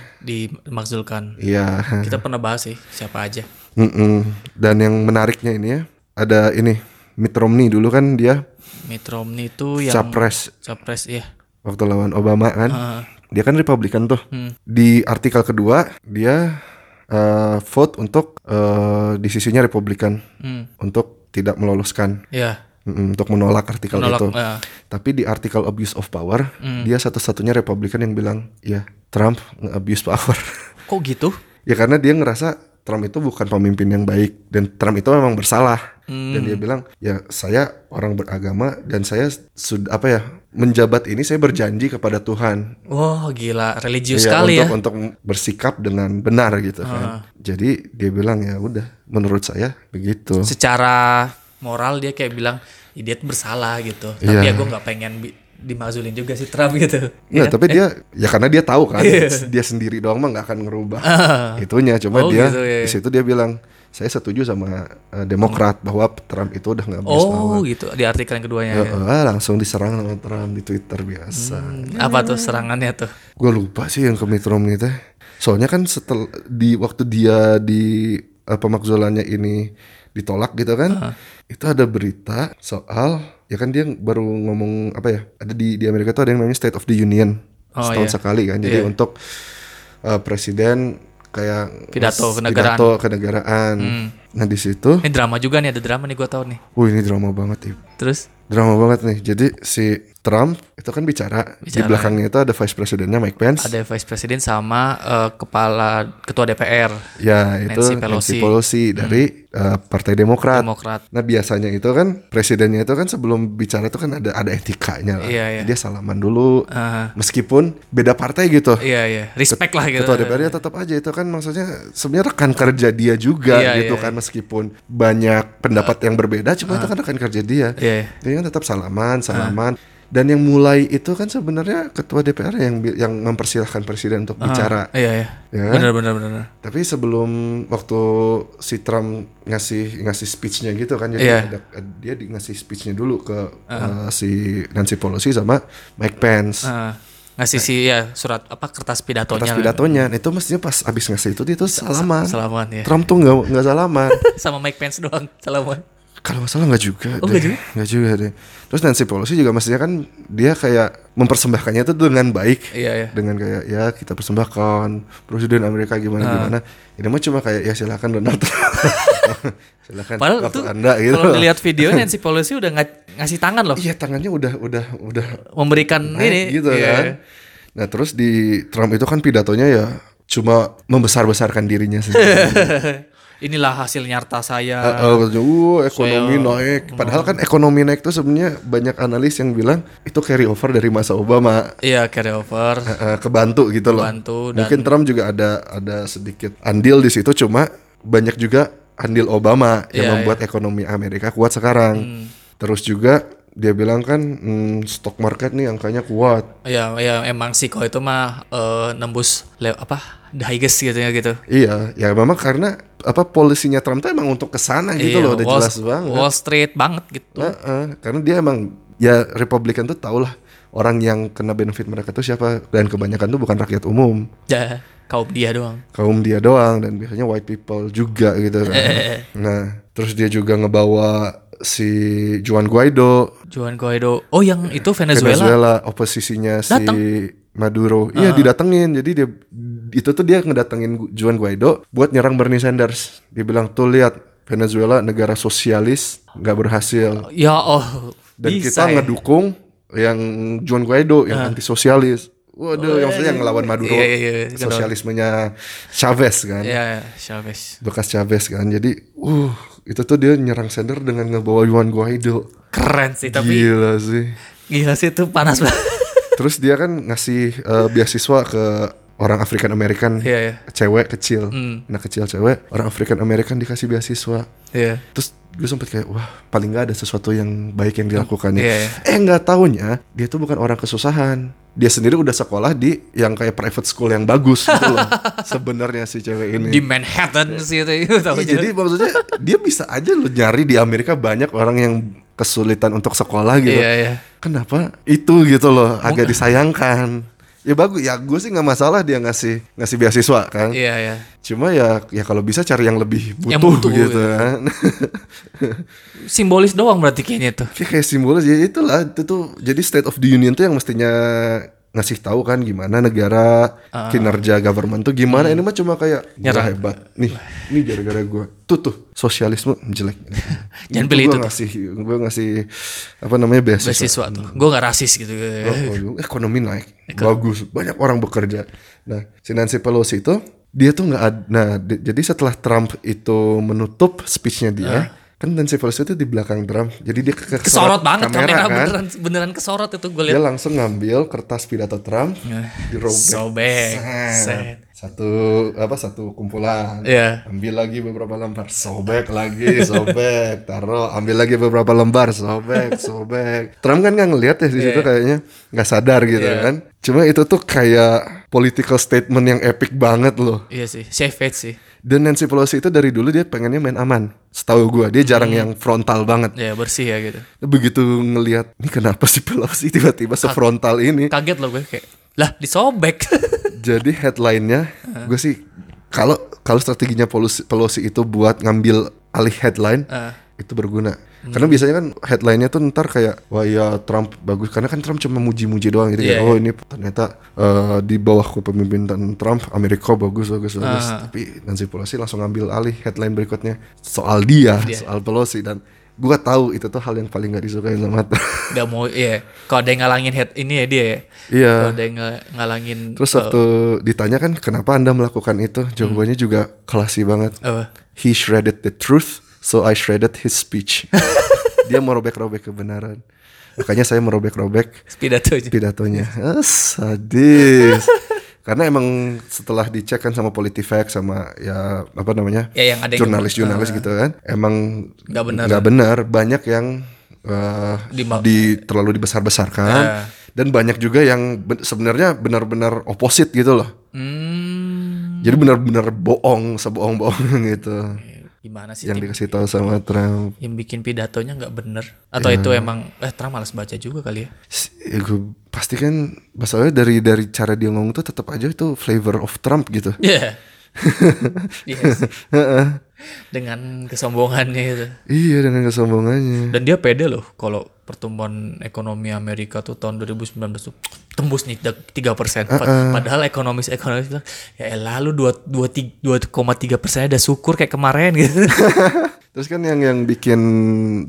Speaker 1: Dimaksudkan.
Speaker 2: ya
Speaker 1: Kita pernah bahas sih siapa aja.
Speaker 2: mm-mm. dan yang menariknya ini ya ada ini Mitt Romney dulu kan dia
Speaker 1: Mitt Romney itu yang
Speaker 2: capres
Speaker 1: capres iya.
Speaker 2: waktu lawan Obama kan.
Speaker 1: Ah.
Speaker 2: Dia kan Republikan tuh.
Speaker 1: Hmm.
Speaker 2: Di artikel kedua dia eh, vote untuk eh, di sisinya Republikan
Speaker 1: Hmm.
Speaker 2: untuk tidak meloloskan
Speaker 1: Iya.
Speaker 2: Mm, untuk menolak artikel
Speaker 1: Menolak Hmm.
Speaker 2: itu.
Speaker 1: eh,
Speaker 2: Tapi di artikel abuse of power dia satu-satunya Republikan yang bilang ya Trump nge-abuse power.
Speaker 1: kok gitu?
Speaker 2: ya karena dia ngerasa Trump itu bukan pemimpin yang baik dan Trump itu memang bersalah.
Speaker 1: Hmm.
Speaker 2: Dan dia bilang, "Ya, saya orang beragama dan saya sudah apa ya, menjabat ini saya berjanji kepada Tuhan
Speaker 1: Wah, gila, religius
Speaker 2: Iya,
Speaker 1: sekali
Speaker 2: untuk,
Speaker 1: ya. Ah.
Speaker 2: untuk bersikap dengan benar gitu kan. Jadi dia bilang ya udah menurut saya begitu.
Speaker 1: Secara moral dia kayak bilang, "Ih, dia tuh bersalah gitu. Tapi
Speaker 2: Iya.
Speaker 1: ya gue nggak pengen bi- dimazulin juga si Trump gitu.
Speaker 2: Iya,
Speaker 1: Iya.
Speaker 2: tapi dia ya karena dia tahu kan dia sendiri doang mah nggak akan ngerubah itunya cuma
Speaker 1: Oh,
Speaker 2: dia
Speaker 1: gitu, iya.
Speaker 2: di situ dia bilang saya setuju sama eh, Demokrat bahwa Trump itu udah nggak abuse power."
Speaker 1: Oh gitu di artikel yang keduanya.
Speaker 2: Ya,
Speaker 1: ya.
Speaker 2: eh, langsung diserang sama Trump di Twitter biasa.
Speaker 1: Apa tuh serangannya tuh?
Speaker 2: Gue lupa sih yang ke Mitt Romney teh. Soalnya kan setel di waktu dia di eh, pemakzulannya ini ditolak gitu kan.
Speaker 1: Ah.
Speaker 2: Itu ada berita soal ya kan dia baru ngomong apa ya? Ada di di Amerika tuh ada yang namanya State of the Union.
Speaker 1: Oh,
Speaker 2: setahun
Speaker 1: iya.
Speaker 2: sekali kan. Jadi
Speaker 1: Iya.
Speaker 2: untuk eh, presiden kayak
Speaker 1: Pidato
Speaker 2: nges-
Speaker 1: kenegaraan. Hmm.
Speaker 2: pidato kenegaraan. Nah, di situ,
Speaker 1: Ini drama juga nih, ada drama nih gue tahu nih.
Speaker 2: wah ini drama banget, Ip.
Speaker 1: Terus
Speaker 2: Drama banget nih. Jadi si Trump itu kan bicara, di
Speaker 1: Bicara.
Speaker 2: belakangnya itu ada vice presidennya Mike Pence.
Speaker 1: ada vice presiden sama eh, kepala ketua DPR
Speaker 2: Ya itu
Speaker 1: Nancy
Speaker 2: Nancy
Speaker 1: Pelosi. Hmm.
Speaker 2: Pelosi, dari eh, Partai Demokrat.
Speaker 1: Demokrat.
Speaker 2: Nah biasanya itu kan presidennya itu kan sebelum bicara itu kan ada ada etikanya lah.
Speaker 1: Iya, iya.
Speaker 2: Dia salaman dulu,
Speaker 1: Ah.
Speaker 2: meskipun beda partai gitu.
Speaker 1: Iya iya, respect lah gitu.
Speaker 2: Ketua DPR ya tetap aja itu kan maksudnya sebenarnya rekan kerja dia juga
Speaker 1: Iya,
Speaker 2: gitu
Speaker 1: iya, Ah.
Speaker 2: kan meskipun banyak pendapat yang berbeda, cuma itu kan rekan kerja dia.
Speaker 1: Iya.
Speaker 2: Dia kan tetap
Speaker 1: Ah.
Speaker 2: salaman, salaman. Dan yang mulai itu kan sebenarnya ketua DPR yang bi- yang mempersilahkan presiden untuk bicara.
Speaker 1: Iya iya.
Speaker 2: Ya.
Speaker 1: Benar benar benar.
Speaker 2: Tapi sebelum waktu si Trump ngasih ngasih speech-nya gitu kan jadi
Speaker 1: Iya.
Speaker 2: ada- dia di- ngasih speech-nya dulu ke eh, si Nancy Pelosi sama Mike Pence.
Speaker 1: Ah, ngasih si ya surat apa kertas pidatonya. kan.
Speaker 2: Atas pidatonya nah, itu mestinya pas abis ngasih itu dia tuh salaman.
Speaker 1: Salaman ya.
Speaker 2: Trump tuh nggak nggak salaman.
Speaker 1: Sama Mike Pence doang salaman.
Speaker 2: Kalau nggak salah nggak juga
Speaker 1: Oh,
Speaker 2: deh.
Speaker 1: nggak juga?
Speaker 2: Nggak juga deh. Terus Nancy Pelosi juga mestinya kan dia kayak mempersembahkannya itu dengan baik.
Speaker 1: Iya iya.
Speaker 2: dengan kayak ya kita persembahkan presiden Amerika gimana gimana
Speaker 1: Ah.
Speaker 2: ini mah cuma kayak ya silakan Donald Trump silakan
Speaker 1: Padahal
Speaker 2: waktu
Speaker 1: tuh
Speaker 2: anda gitu
Speaker 1: kalau dilihat video Nancy Pelosi udah nga- ngasih tangan loh,
Speaker 2: iya tangannya udah udah udah
Speaker 1: memberikan ini
Speaker 2: naik gitu
Speaker 1: Iya.
Speaker 2: kan nah terus di Trump itu kan pidatonya ya cuma membesar besarkan dirinya sendiri
Speaker 1: Inilah hasil nyata saya.
Speaker 2: Uh, ekonomi naik
Speaker 1: Hmm.
Speaker 2: padahal kan ekonomi naik tuh sebenarnya banyak analis yang bilang itu carry over dari masa Obama
Speaker 1: Iya carry over.
Speaker 2: eh, kebantu gitu loh.
Speaker 1: Kebantu dan-
Speaker 2: Mungkin Trump juga ada ada sedikit andil di situ cuma banyak juga andil
Speaker 1: Iya,
Speaker 2: Obama
Speaker 1: Hmm.
Speaker 2: yang membuat ekonomi Amerika kuat sekarang. Terus juga dia bilang kan hmm, stock market nih angkanya kuat.
Speaker 1: Ya, ya emang sih kalau itu mah eh, nembus le- apa the highest gitu ya gitu.
Speaker 2: Iya, ya memang karena apa polisinya Trump tuh emang untuk kesana
Speaker 1: Iya,
Speaker 2: gitu loh, udah
Speaker 1: Wall-
Speaker 2: jelas banget.
Speaker 1: Wall Street banget gitu.
Speaker 2: Heeh, karena dia emang ya Republikan tuh tau lah orang yang kena benefit mereka tuh siapa dan kebanyakan tuh bukan rakyat umum.
Speaker 1: Ya, kaum dia doang.
Speaker 2: kaum dia doang dan biasanya white people juga gitu kan. Nah, terus dia juga ngebawa si Juan Guaido
Speaker 1: Juan Guaido. Oh, yang itu Venezuela.
Speaker 2: Venezuela, oposisinya si
Speaker 1: Datang.
Speaker 2: Maduro.
Speaker 1: Ah.
Speaker 2: Iya, didatengin. Jadi dia itu tuh dia ngedatengin Gu- Juan Guaido buat nyerang Bernie Sanders. Dia bilang, "Tuh lihat, Venezuela negara sosialis nggak berhasil
Speaker 1: Ya, oh.
Speaker 2: dan
Speaker 1: bisa ya.
Speaker 2: kita
Speaker 1: Ah.
Speaker 2: ngedukung yang Juan Guaido yang anti sosialis." Waduh, yang maksudnya yang ngelawan Maduro,
Speaker 1: Iya, iya, iya.
Speaker 2: sosialismenya Chavez kan,
Speaker 1: Ya, Chavez.
Speaker 2: bekas Chavez kan. Jadi, uh, itu tuh dia nyerang Sender dengan ngebawa Juan Guaido.
Speaker 1: Keren sih, tapi
Speaker 2: Gila sih.
Speaker 1: gila sih itu panas banget.
Speaker 2: Terus dia kan ngasih eh, beasiswa ke orang African American
Speaker 1: Iya, iya. Hmm.
Speaker 2: cewek kecil, anak kecil cewek, orang African American dikasih beasiswa.
Speaker 1: Iya.
Speaker 2: Terus gue sempet kayak wah paling nggak ada sesuatu yang baik yang dilakukan
Speaker 1: Iya,
Speaker 2: ya.
Speaker 1: iya.
Speaker 2: Eh nggak taunya dia tuh bukan orang kesusahan. Dia sendiri udah sekolah di yang kayak private school yang bagus gitu loh. Sebenarnya si cewek ini.
Speaker 1: Di Manhattan sih itu. itu
Speaker 2: Iya,
Speaker 1: tahu
Speaker 2: jadi maksudnya dia bisa aja lo nyari di Amerika banyak orang yang kesulitan untuk sekolah gitu.
Speaker 1: Iya, Oh, iya.
Speaker 2: Kenapa itu gitu loh agak disayangkan. Ya bagus ya gue sih nggak masalah dia ngasih ngasih beasiswa kan.
Speaker 1: Iya, iya.
Speaker 2: Cuma ya ya kalau bisa cari yang lebih butuh,
Speaker 1: Yang butuh,
Speaker 2: gitu
Speaker 1: iya.
Speaker 2: kan.
Speaker 1: Simbolis doang berarti kayaknya itu.
Speaker 2: Ya kayak simbolis ya itulah itu tuh jadi state of the union tuh yang mestinya ngasih tahu kan gimana negara
Speaker 1: Ah.
Speaker 2: kinerja government tuh gimana ini mah cuma kayak gua
Speaker 1: Nyerang.
Speaker 2: hebat nih nih gara-gara gua tuh tuh sosialisme jelek
Speaker 1: Jangan pilih
Speaker 2: gua
Speaker 1: itu tuh.
Speaker 2: ngasih gua ngasih apa namanya beasiswa,
Speaker 1: Beasiswa tuh. Gue gak rasis gitu.
Speaker 2: Oh, oh, ekonomi naik bagus banyak orang bekerja nah si Nancy Pelosi itu dia tuh nggak ad- nah di- jadi setelah Trump itu menutup speechnya dia kan Nancy Pelosi itu di belakang Trump jadi dia ke-
Speaker 1: Ah.
Speaker 2: kesorot
Speaker 1: Kesorot banget kamera,
Speaker 2: kan? Iya.
Speaker 1: beneran beneran kesorot itu gue
Speaker 2: dia
Speaker 1: lihat.
Speaker 2: langsung ngambil kertas pidato Trump dirobek
Speaker 1: Sobek.
Speaker 2: Ya. Set. Ya.
Speaker 1: Set.
Speaker 2: satu apa satu kumpulan
Speaker 1: Iya.
Speaker 2: ambil lagi beberapa lembar sobek lagi sobek taruh ambil lagi beberapa lembar sobek sobek Trump kan nggak ngelihat ya di situ kayaknya nggak sadar gitu
Speaker 1: Iya.
Speaker 2: kan cuma itu tuh kayak political statement yang epic banget loh
Speaker 1: Iya sih, savage sih.
Speaker 2: dan Nancy Pelosi itu dari dulu dia pengennya main aman setahu gua dia jarang yang frontal banget
Speaker 1: Ya bersih ya gitu.
Speaker 2: begitu ngelihat ini kenapa sih Pelosi tiba-tiba sefrontal ini
Speaker 1: Kaget loh gue kayak, lah disobek.
Speaker 2: Jadi headlinenya gue sih kalau kalau strateginya Pelosi, Pelosi itu buat ngambil alih headline
Speaker 1: Ah.
Speaker 2: itu berguna.
Speaker 1: Hmm.
Speaker 2: Karena biasanya kan headlinenya tuh ntar kayak wah ya Trump bagus karena kan Trump cuma muji-muji doang gitu
Speaker 1: Iya,
Speaker 2: kayak, oh ini ternyata eh, di bawah kepemimpinan Trump Amerika bagus bagus bagus. Tapi Nancy Pelosi langsung ngambil alih headline berikutnya soal dia, soal Pelosi dan gua tahu itu tuh hal yang paling gak disukai sama Trump.
Speaker 1: Gak mau, iya. Kalau ada yang ngalangin head ini ya dia ya.
Speaker 2: Iya.
Speaker 1: Kalau ada yang nge- ngalangin.
Speaker 2: Terus waktu ditanya kan kenapa anda melakukan itu, jawabannya juga klasi banget.
Speaker 1: Apa?
Speaker 2: He shredded the truth, so I shredded his speech. Dia merobek-robek kebenaran. Makanya saya merobek-robek
Speaker 1: pidato aja.
Speaker 2: pidatonya. Ah, sadis. Karena emang setelah dicek kan sama Politifact sama ya apa namanya?
Speaker 1: Ya, yang ada yang-
Speaker 2: jurnalis-jurnalis gitu kan. Emang
Speaker 1: Nggak benar.
Speaker 2: nggak benar. banyak yang eh, di,
Speaker 1: Dima-
Speaker 2: terlalu dibesar-besarkan
Speaker 1: Ah.
Speaker 2: dan banyak juga yang ben- sebenarnya benar-benar oposit gitu loh.
Speaker 1: Hmm,
Speaker 2: Jadi benar-benar bohong, sebohong-bohong gitu
Speaker 1: gimana sih
Speaker 2: yang
Speaker 1: tim
Speaker 2: dikasih tahu sama Trump.
Speaker 1: yang bikin pidatonya nggak bener? Atau
Speaker 2: Iya.
Speaker 1: itu emang, eh Trump males baca juga kali ya?
Speaker 2: S- ya gue pasti kan masalahnya dari dari cara dia ngomong tuh tetap aja itu flavor of Trump gitu.
Speaker 1: Iya. Yes. Dengan kesombongannya itu.
Speaker 2: Iya dengan kesombongannya.
Speaker 1: Dan dia pede loh kalau pertumbuhan ekonomi Amerika tuh tahun 2019 tuh tembus nih 3 persen. Padahal ekonomis-ekonomis bilang, ya lalu 2,3 persen ada syukur kayak kemarin gitu.
Speaker 2: Terus kan yang yang bikin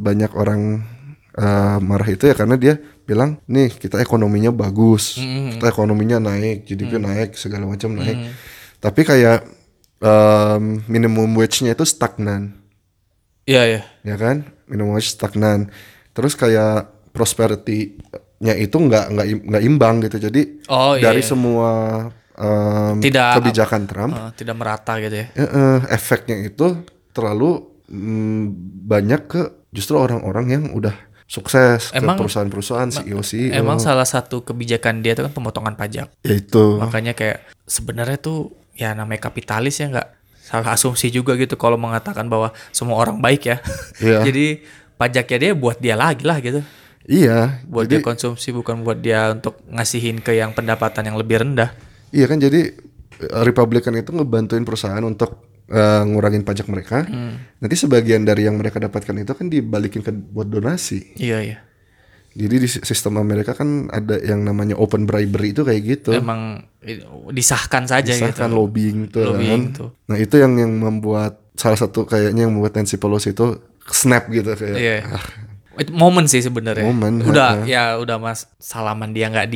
Speaker 2: banyak orang eh, marah itu ya karena dia bilang nih kita ekonominya bagus, kita ekonominya naik, GDP naik segala macam naik. Tapi kayak em, minimum wage-nya itu stagnan,
Speaker 1: Iya, iya.
Speaker 2: ya kan? Minimum wage stagnan. Terus kayak prosperity-nya itu nggak nggak im- nggak imbang gitu. Jadi
Speaker 1: Oh, iya,
Speaker 2: dari
Speaker 1: iya.
Speaker 2: semua em,
Speaker 1: Tidak-
Speaker 2: kebijakan Trump
Speaker 1: Eh, tidak merata gitu ya.
Speaker 2: Eh, eh, efeknya itu terlalu mm, banyak ke justru orang-orang yang udah sukses
Speaker 1: Emang-
Speaker 2: ke perusahaan-perusahaan E CEO CEO
Speaker 1: Emang salah satu kebijakan dia itu kan pemotongan pajak.
Speaker 2: ya itu
Speaker 1: Makanya kayak sebenarnya tuh ya namanya kapitalis ya nggak salah asumsi juga gitu kalau mengatakan bahwa semua orang baik ya.
Speaker 2: Iya.
Speaker 1: Jadi pajaknya dia buat dia lagi lah gitu.
Speaker 2: iya
Speaker 1: Buat
Speaker 2: jadi
Speaker 1: dia konsumsi bukan buat dia untuk ngasihin ke yang pendapatan yang lebih rendah.
Speaker 2: iya kan jadi eh, Republican itu ngebantuin perusahaan untuk eh, ngurangin pajak mereka
Speaker 1: Hmm.
Speaker 2: nanti sebagian dari yang mereka dapatkan itu kan dibalikin ke buat donasi
Speaker 1: Iya iya.
Speaker 2: jadi di si- sistem Amerika kan ada yang namanya open bribery itu kayak gitu
Speaker 1: Emang eh, disahkan saja
Speaker 2: disahkan
Speaker 1: gitu.
Speaker 2: lobbying itu
Speaker 1: Lobbying
Speaker 2: kan.
Speaker 1: tuh.
Speaker 2: Nah itu yang yang membuat salah satu kayaknya yang membuat Nancy Pelosi itu snap gitu kayak.
Speaker 1: Iya.
Speaker 2: "Ah,
Speaker 1: Itu momen sih sebenarnya.
Speaker 2: Momen,
Speaker 1: Udah
Speaker 2: ha-ha.
Speaker 1: ya udah Mas salaman dia nggak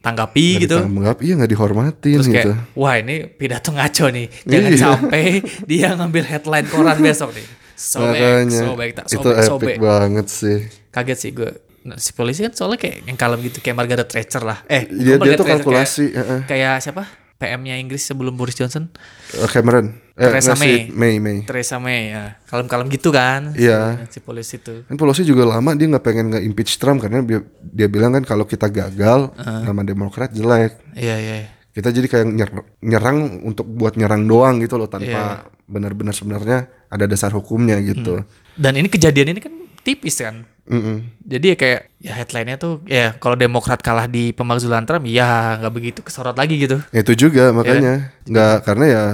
Speaker 1: ditanggapi
Speaker 2: Nggak
Speaker 1: gitu.
Speaker 2: ditanggap, iya nggak dihormatin
Speaker 1: Terus kayak
Speaker 2: gitu.
Speaker 1: wah ini pidato ngaco nih. Jangan
Speaker 2: Iya.
Speaker 1: sampai dia ngambil headline koran besok nih. Sobek,
Speaker 2: Makanya
Speaker 1: sobek, tak
Speaker 2: itu
Speaker 1: sobek,
Speaker 2: epic
Speaker 1: sobek.
Speaker 2: banget sih.
Speaker 1: Kaget sih gue. Nah, si polisi kan soalnya kayak yang kalem gitu kayak Margaret Thatcher lah. Eh, bukan
Speaker 2: Iya, dia
Speaker 1: Margaret
Speaker 2: tuh
Speaker 1: Thatcher,
Speaker 2: kalkulasi, heeh.
Speaker 1: Kayak, kayak siapa? PM-nya Inggris sebelum Boris Johnson,
Speaker 2: Eh, Cameron. Eh,
Speaker 1: Theresa
Speaker 2: nggak sih, May. May,
Speaker 1: Theresa May ya. Kalem-kalem gitu kan.
Speaker 2: Iya.
Speaker 1: Si polisi itu.
Speaker 2: Kan Pelosi juga lama dia nggak pengen nge impeach Trump karena dia, dia bilang kan kalau kita gagal nama Demokrat jelek.
Speaker 1: Iya, iya.
Speaker 2: Kita jadi kayak nyer- nyerang untuk buat nyerang doang gitu loh
Speaker 1: Iya.
Speaker 2: tanpa benar-benar sebenarnya ada dasar hukumnya gitu.
Speaker 1: Dan ini kejadian ini kan tipis kan.
Speaker 2: Mm-mm.
Speaker 1: Jadi ya kayak ya headline-nya tuh ya kalau Demokrat kalah di pemakzulan Trump ya nggak begitu kesorot lagi gitu.
Speaker 2: Ya, Itu juga makanya nggak karena ya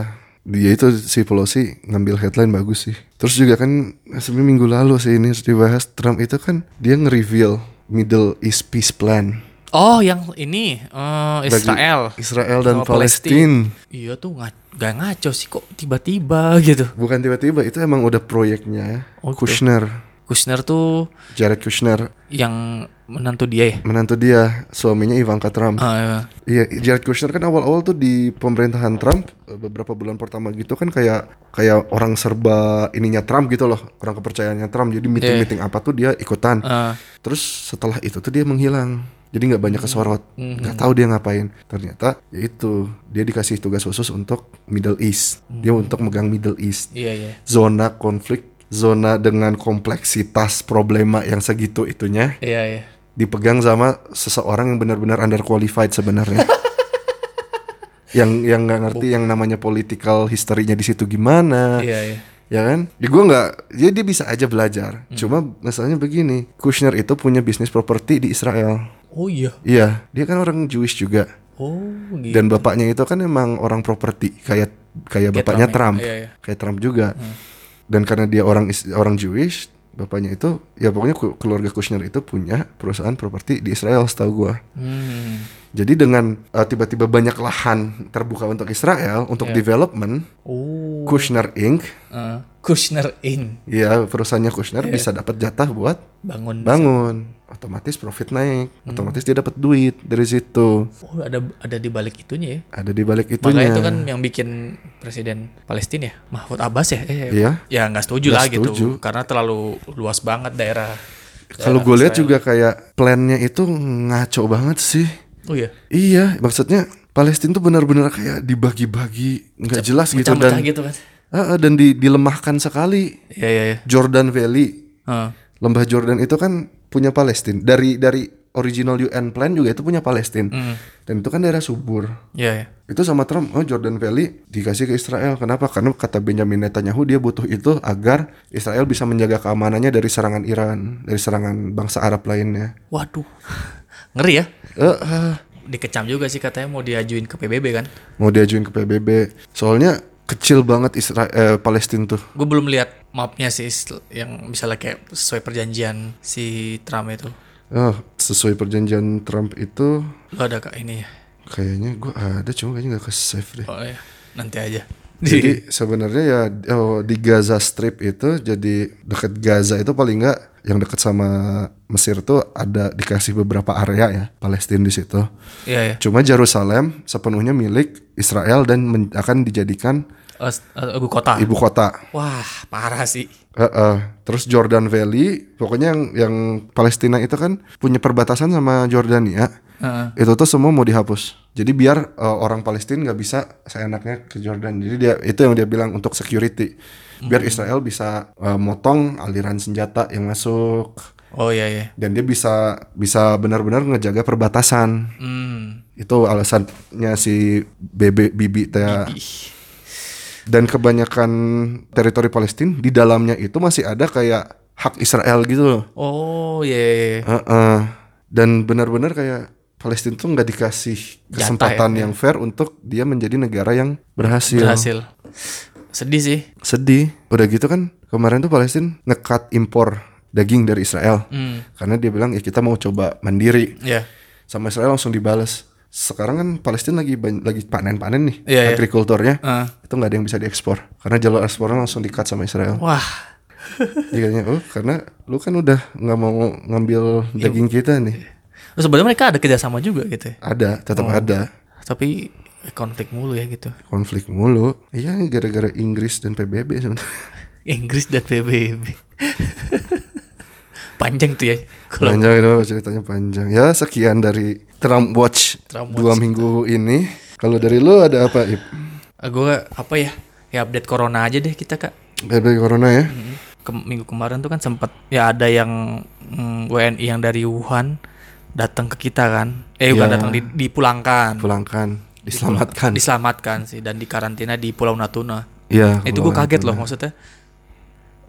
Speaker 2: dia itu si Pelosi ngambil headline bagus sih. Terus juga kan sebelum minggu lalu sih ini dibahas Trump itu kan dia nge-reveal Middle East Peace Plan
Speaker 1: Oh, yang ini eh,
Speaker 2: bagi
Speaker 1: Israel.
Speaker 2: Israel dan
Speaker 1: Sama Palestina.
Speaker 2: Palestina.
Speaker 1: Iya tuh nggak nggak ngaco sih kok tiba-tiba gitu.
Speaker 2: Bukan tiba-tiba itu emang udah proyeknya
Speaker 1: Oh, gitu.
Speaker 2: Kushner,
Speaker 1: Kushner tuh
Speaker 2: Jared Kushner
Speaker 1: yang menantu dia ya.
Speaker 2: menantu dia suaminya Ivanka Trump.
Speaker 1: Eh,
Speaker 2: Iya, Jared Kushner kan awal-awal tuh di pemerintahan Trump eh, beberapa bulan pertama gitu kan kayak kayak orang serba ininya Trump gitu loh, orang kepercayaannya Trump. Jadi meeting-meeting apa tuh dia ikutan.
Speaker 1: eh,
Speaker 2: Terus setelah itu tuh dia menghilang. Jadi nggak banyak kesorot, nggak tahu dia ngapain. Ternyata yaitu dia dikasih tugas khusus untuk Middle East. Dia untuk megang Middle East
Speaker 1: iya iya.
Speaker 2: zona konflik, zona dengan kompleksitas problema yang segitu itunya
Speaker 1: Iya iya.
Speaker 2: dipegang sama seseorang yang benar-benar underqualified sebenarnya. yang yang nggak ngerti yang namanya political history-nya di situ gimana.
Speaker 1: Iya iya.
Speaker 2: Ya kan? Ya gue nggak, ya dia bisa aja belajar.
Speaker 1: Hmm.
Speaker 2: Cuma masalahnya begini, Kushner itu punya bisnis properti di Israel.
Speaker 1: Oh iya.
Speaker 2: Iya, dia kan orang Jewish juga.
Speaker 1: Oh gitu.
Speaker 2: Dan bapaknya itu kan emang orang properti, kayak kayak
Speaker 1: Kayak
Speaker 2: bapaknya
Speaker 1: Trump
Speaker 2: Trump,
Speaker 1: ya? Iya, iya.
Speaker 2: kayak Trump juga. Dan karena dia orang is- orang Jewish, bapaknya itu ya pokoknya ku- keluarga Kushner itu punya perusahaan properti di Israel, setahu gua.
Speaker 1: Hmm.
Speaker 2: Jadi dengan eh, tiba-tiba banyak lahan terbuka untuk
Speaker 1: Ya.
Speaker 2: Israel untuk development,
Speaker 1: Oh.
Speaker 2: Kushner Inc.
Speaker 1: eh, Kushner in
Speaker 2: Ya perusahaannya Kushner bisa dapat jatah buat
Speaker 1: bangun.
Speaker 2: bangun, otomatis profit naik,
Speaker 1: Hmm.
Speaker 2: otomatis dia dapat duit dari situ.
Speaker 1: Oh ada ada di balik itunya ya.
Speaker 2: Ada di balik itunya.
Speaker 1: Makanya itu kan yang bikin presiden Palestina ya, Mahfud Abbas ya. Eh,
Speaker 2: Iya.
Speaker 1: Ya nggak setuju
Speaker 2: Nggak
Speaker 1: lah gitu,
Speaker 2: setuju.
Speaker 1: karena terlalu luas banget daerah. Ya,
Speaker 2: Kalau gue lihat juga kayak plannya itu ngaco banget sih.
Speaker 1: Oh iya.
Speaker 2: Iya, maksudnya Palestina tuh benar-benar kayak dibagi-bagi, nggak jelas gitu
Speaker 1: Pecah-pecah
Speaker 2: dan
Speaker 1: gitu kan.
Speaker 2: Ah, ah, dan di- dilemahkan sekali.
Speaker 1: Iya iya. Ah. iya.
Speaker 2: Jordan Valley,
Speaker 1: Heeh.
Speaker 2: lembah Jordan itu kan punya Palestina. Dari dari original UN plan juga itu punya Palestina.
Speaker 1: Hmm.
Speaker 2: Dan itu kan daerah subur.
Speaker 1: Iya iya.
Speaker 2: Itu sama Trump, oh Jordan Valley dikasih ke Israel. Kenapa? Karena kata Benjamin Netanyahu dia butuh itu agar Israel bisa menjaga keamanannya dari serangan Iran, dari serangan bangsa Arab lainnya.
Speaker 1: Waduh. Ngeri ya.
Speaker 2: Eh, ah.
Speaker 1: Dikecam juga sih katanya mau diajuin ke PBB kan.
Speaker 2: mau diajuin ke PBB. Soalnya kecil banget Israel Palestina tuh.
Speaker 1: Gue belum lihat mapnya sih sel- yang misalnya kayak sesuai perjanjian si Trump itu.
Speaker 2: Ah, sesuai perjanjian Trump itu
Speaker 1: Lo ada kak ini ya?
Speaker 2: kayaknya gua ada cuma kayaknya nggak ke save deh.
Speaker 1: Oh iya. Nanti aja. Di
Speaker 2: Jadi sebenarnya ya oh, di Gaza Strip itu jadi deket Gaza itu paling nggak yang deket sama Mesir tuh ada dikasih beberapa area ya Palestina di situ.
Speaker 1: Iya iya.
Speaker 2: Cuma Jerusalem sepenuhnya milik Israel dan men- akan dijadikan
Speaker 1: Eh, s- eh, Ibu kota.
Speaker 2: ibu kota.
Speaker 1: Wah parah sih.
Speaker 2: Heeh. Terus Jordan Valley, pokoknya yang yang Palestina itu kan punya perbatasan sama Jordania.
Speaker 1: Heeh.
Speaker 2: Itu tuh semua mau dihapus. Jadi biar eh, orang Palestina nggak bisa seenaknya ke Jordan. Jadi dia itu yang dia bilang untuk security. Biar Israel bisa eh, motong aliran senjata yang masuk
Speaker 1: Oh iya iya.
Speaker 2: dan dia bisa bisa benar-benar ngejaga perbatasan.
Speaker 1: Hmm.
Speaker 2: Itu alasannya si Bebe Bibi teh dan kebanyakan teritori Palestina di dalamnya itu masih ada kayak hak Israel gitu loh.
Speaker 1: Oh iya, iya. iya.
Speaker 2: Heeh. Dan benar-benar kayak Palestina tuh nggak dikasih
Speaker 1: Jatah ya.
Speaker 2: kesempatan yang fair untuk dia menjadi negara yang berhasil.
Speaker 1: berhasil. Sedih sih.
Speaker 2: Sedih. Udah gitu kan kemarin tuh Palestina ngekat impor daging dari Israel
Speaker 1: Hmm.
Speaker 2: karena dia bilang ya kita mau coba mandiri
Speaker 1: Ya.
Speaker 2: sama Israel langsung dibales. Sekarang kan Palestina lagi ban- lagi panen-panen nih
Speaker 1: Iya, iya.
Speaker 2: agrikulturnya.
Speaker 1: Heeh. Oh.
Speaker 2: Itu nggak ada yang bisa diekspor karena jalur ekspornya langsung dikat sama Israel.
Speaker 1: Wah.
Speaker 2: Dia katanya, oh karena lu kan udah nggak mau ngambil
Speaker 1: Iya.
Speaker 2: daging kita nih.
Speaker 1: Terus sebenarnya mereka ada kerjasama juga gitu ya.
Speaker 2: Ada, tetap ada
Speaker 1: Tapi konflik mulu ya gitu.
Speaker 2: konflik mulu. Iya gara-gara Inggris dan PBB sebenarnya.
Speaker 1: Inggris dan PBB. Panjang tuh ya. Kalau
Speaker 2: Panjang itu ceritanya panjang. Ya sekian dari Trump Watch
Speaker 1: Trump
Speaker 2: dua minggu ini. Kalau dari lu ada apa? Ip?
Speaker 1: gue apa ya? Ya update corona aja deh kita kak.
Speaker 2: PBB corona ya?
Speaker 1: Ke- minggu kemarin tuh kan sempet ya ada yang mm, WNI yang dari Wuhan datang ke kita kan. Eh bukan
Speaker 2: Ya.
Speaker 1: datang di- dipulangkan.
Speaker 2: Pulangkan, diselamatkan.
Speaker 1: Diselamatkan sih dan dikarantina di Pulau Natuna.
Speaker 2: Iya.
Speaker 1: Eh, itu gue
Speaker 2: pulangkan.
Speaker 1: kaget loh maksudnya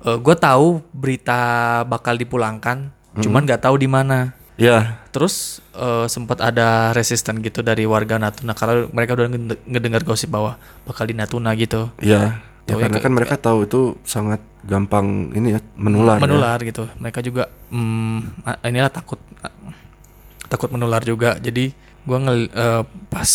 Speaker 1: gue tahu berita bakal dipulangkan
Speaker 2: Hmm.
Speaker 1: cuman nggak tahu di mana
Speaker 2: Iya.
Speaker 1: terus eh, sempat ada resisten gitu dari warga Natuna karena mereka udah ngede- ngedengar gosip bahwa bakal di Natuna gitu
Speaker 2: Iya. Ya,
Speaker 1: Tahu ya,
Speaker 2: karena kan mereka tahu itu sangat gampang ini ya menular. ya.
Speaker 1: menular gitu mereka juga mm, a- inilah takut a- takut menular juga jadi gue ngel eh, pas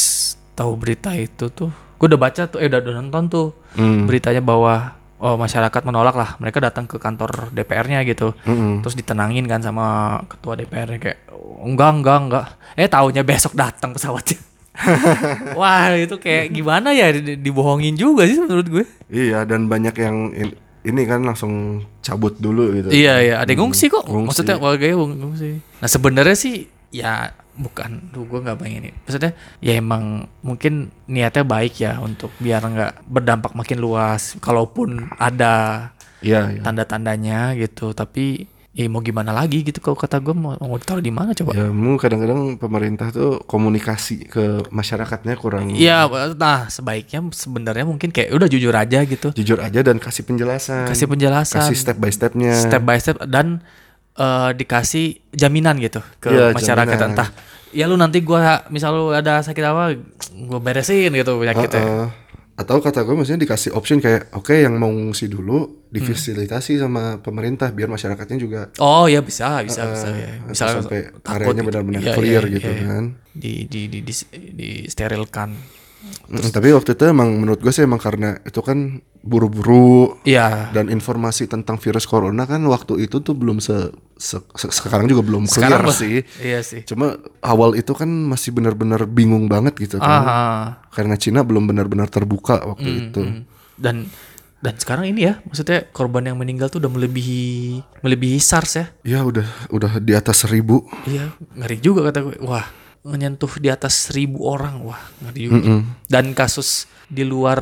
Speaker 1: tahu berita itu tuh gue udah baca tuh eh udah, udah nonton tuh
Speaker 2: Hmm.
Speaker 1: beritanya bahwa oh, masyarakat menolak lah mereka datang ke kantor DPR-nya gitu
Speaker 2: Mm-mm.
Speaker 1: terus ditenangin kan sama ketua DPR -nya, kayak "Oh, enggak enggak enggak eh taunya besok datang pesawatnya wah itu kayak gimana ya di- dibohongin juga sih menurut gue
Speaker 2: Iya dan banyak yang in- ini kan langsung cabut dulu gitu.
Speaker 1: iya iya ada yang ngungsi kok
Speaker 2: Ngungsi.
Speaker 1: maksudnya warganya ngung- ngungsi nah sebenarnya sih ya bukan tuh gue nggak bayangin maksudnya ya emang mungkin niatnya baik ya untuk biar nggak berdampak makin luas kalaupun ada
Speaker 2: Iya. iya.
Speaker 1: tanda-tandanya gitu tapi ya mau gimana lagi gitu kalau kata gue mau, mau ditaruh di mana coba
Speaker 2: Ya, mu kadang-kadang pemerintah tuh komunikasi ke masyarakatnya kurang
Speaker 1: Iya, nah sebaiknya sebenarnya mungkin kayak udah jujur aja gitu,
Speaker 2: jujur aja dan kasih penjelasan.
Speaker 1: kasih penjelasan,
Speaker 2: Iya. Kasih step by stepnya.
Speaker 1: step by step dan eh, dikasih jaminan gitu ke
Speaker 2: Iya,
Speaker 1: masyarakat
Speaker 2: jaminan.
Speaker 1: entah ya lu nanti gua misal lu ada sakit apa gua beresin gitu penyakitnya.
Speaker 2: Heeh. Eh, Atau kata gue maksudnya dikasih option kayak oke yang mau ngungsi dulu difasilitasi
Speaker 1: Hmm.
Speaker 2: sama pemerintah biar masyarakatnya juga
Speaker 1: Oh ya bisa bisa bisa ya.
Speaker 2: atau
Speaker 1: Misalnya
Speaker 2: sampai
Speaker 1: takut
Speaker 2: areanya
Speaker 1: gitu.
Speaker 2: benar-benar
Speaker 1: Iya,
Speaker 2: clear
Speaker 1: iya,
Speaker 2: gitu
Speaker 1: iya, iya.
Speaker 2: kan.
Speaker 1: Di di di di, di sterilkan. Hmm.
Speaker 2: Mm, Tapi waktu itu emang menurut gue sih emang karena itu kan buru-buru
Speaker 1: Iya.
Speaker 2: dan informasi tentang virus corona kan waktu itu tuh belum se, se- se- sekarang juga belum clear
Speaker 1: Sekarang lah.
Speaker 2: sih.
Speaker 1: Iya sih.
Speaker 2: Cuma awal itu kan masih benar-benar bingung banget gitu kan.
Speaker 1: Ah.
Speaker 2: Karena Cina belum benar-benar terbuka waktu
Speaker 1: Hmm,
Speaker 2: itu.
Speaker 1: dan dan sekarang ini ya maksudnya korban yang meninggal tuh udah melebihi melebihi SARS ya
Speaker 2: Ya udah udah di atas seribu.
Speaker 1: iya ngeri juga kata gue wah menyentuh di atas seribu orang wah ngeri juga dan kasus di luar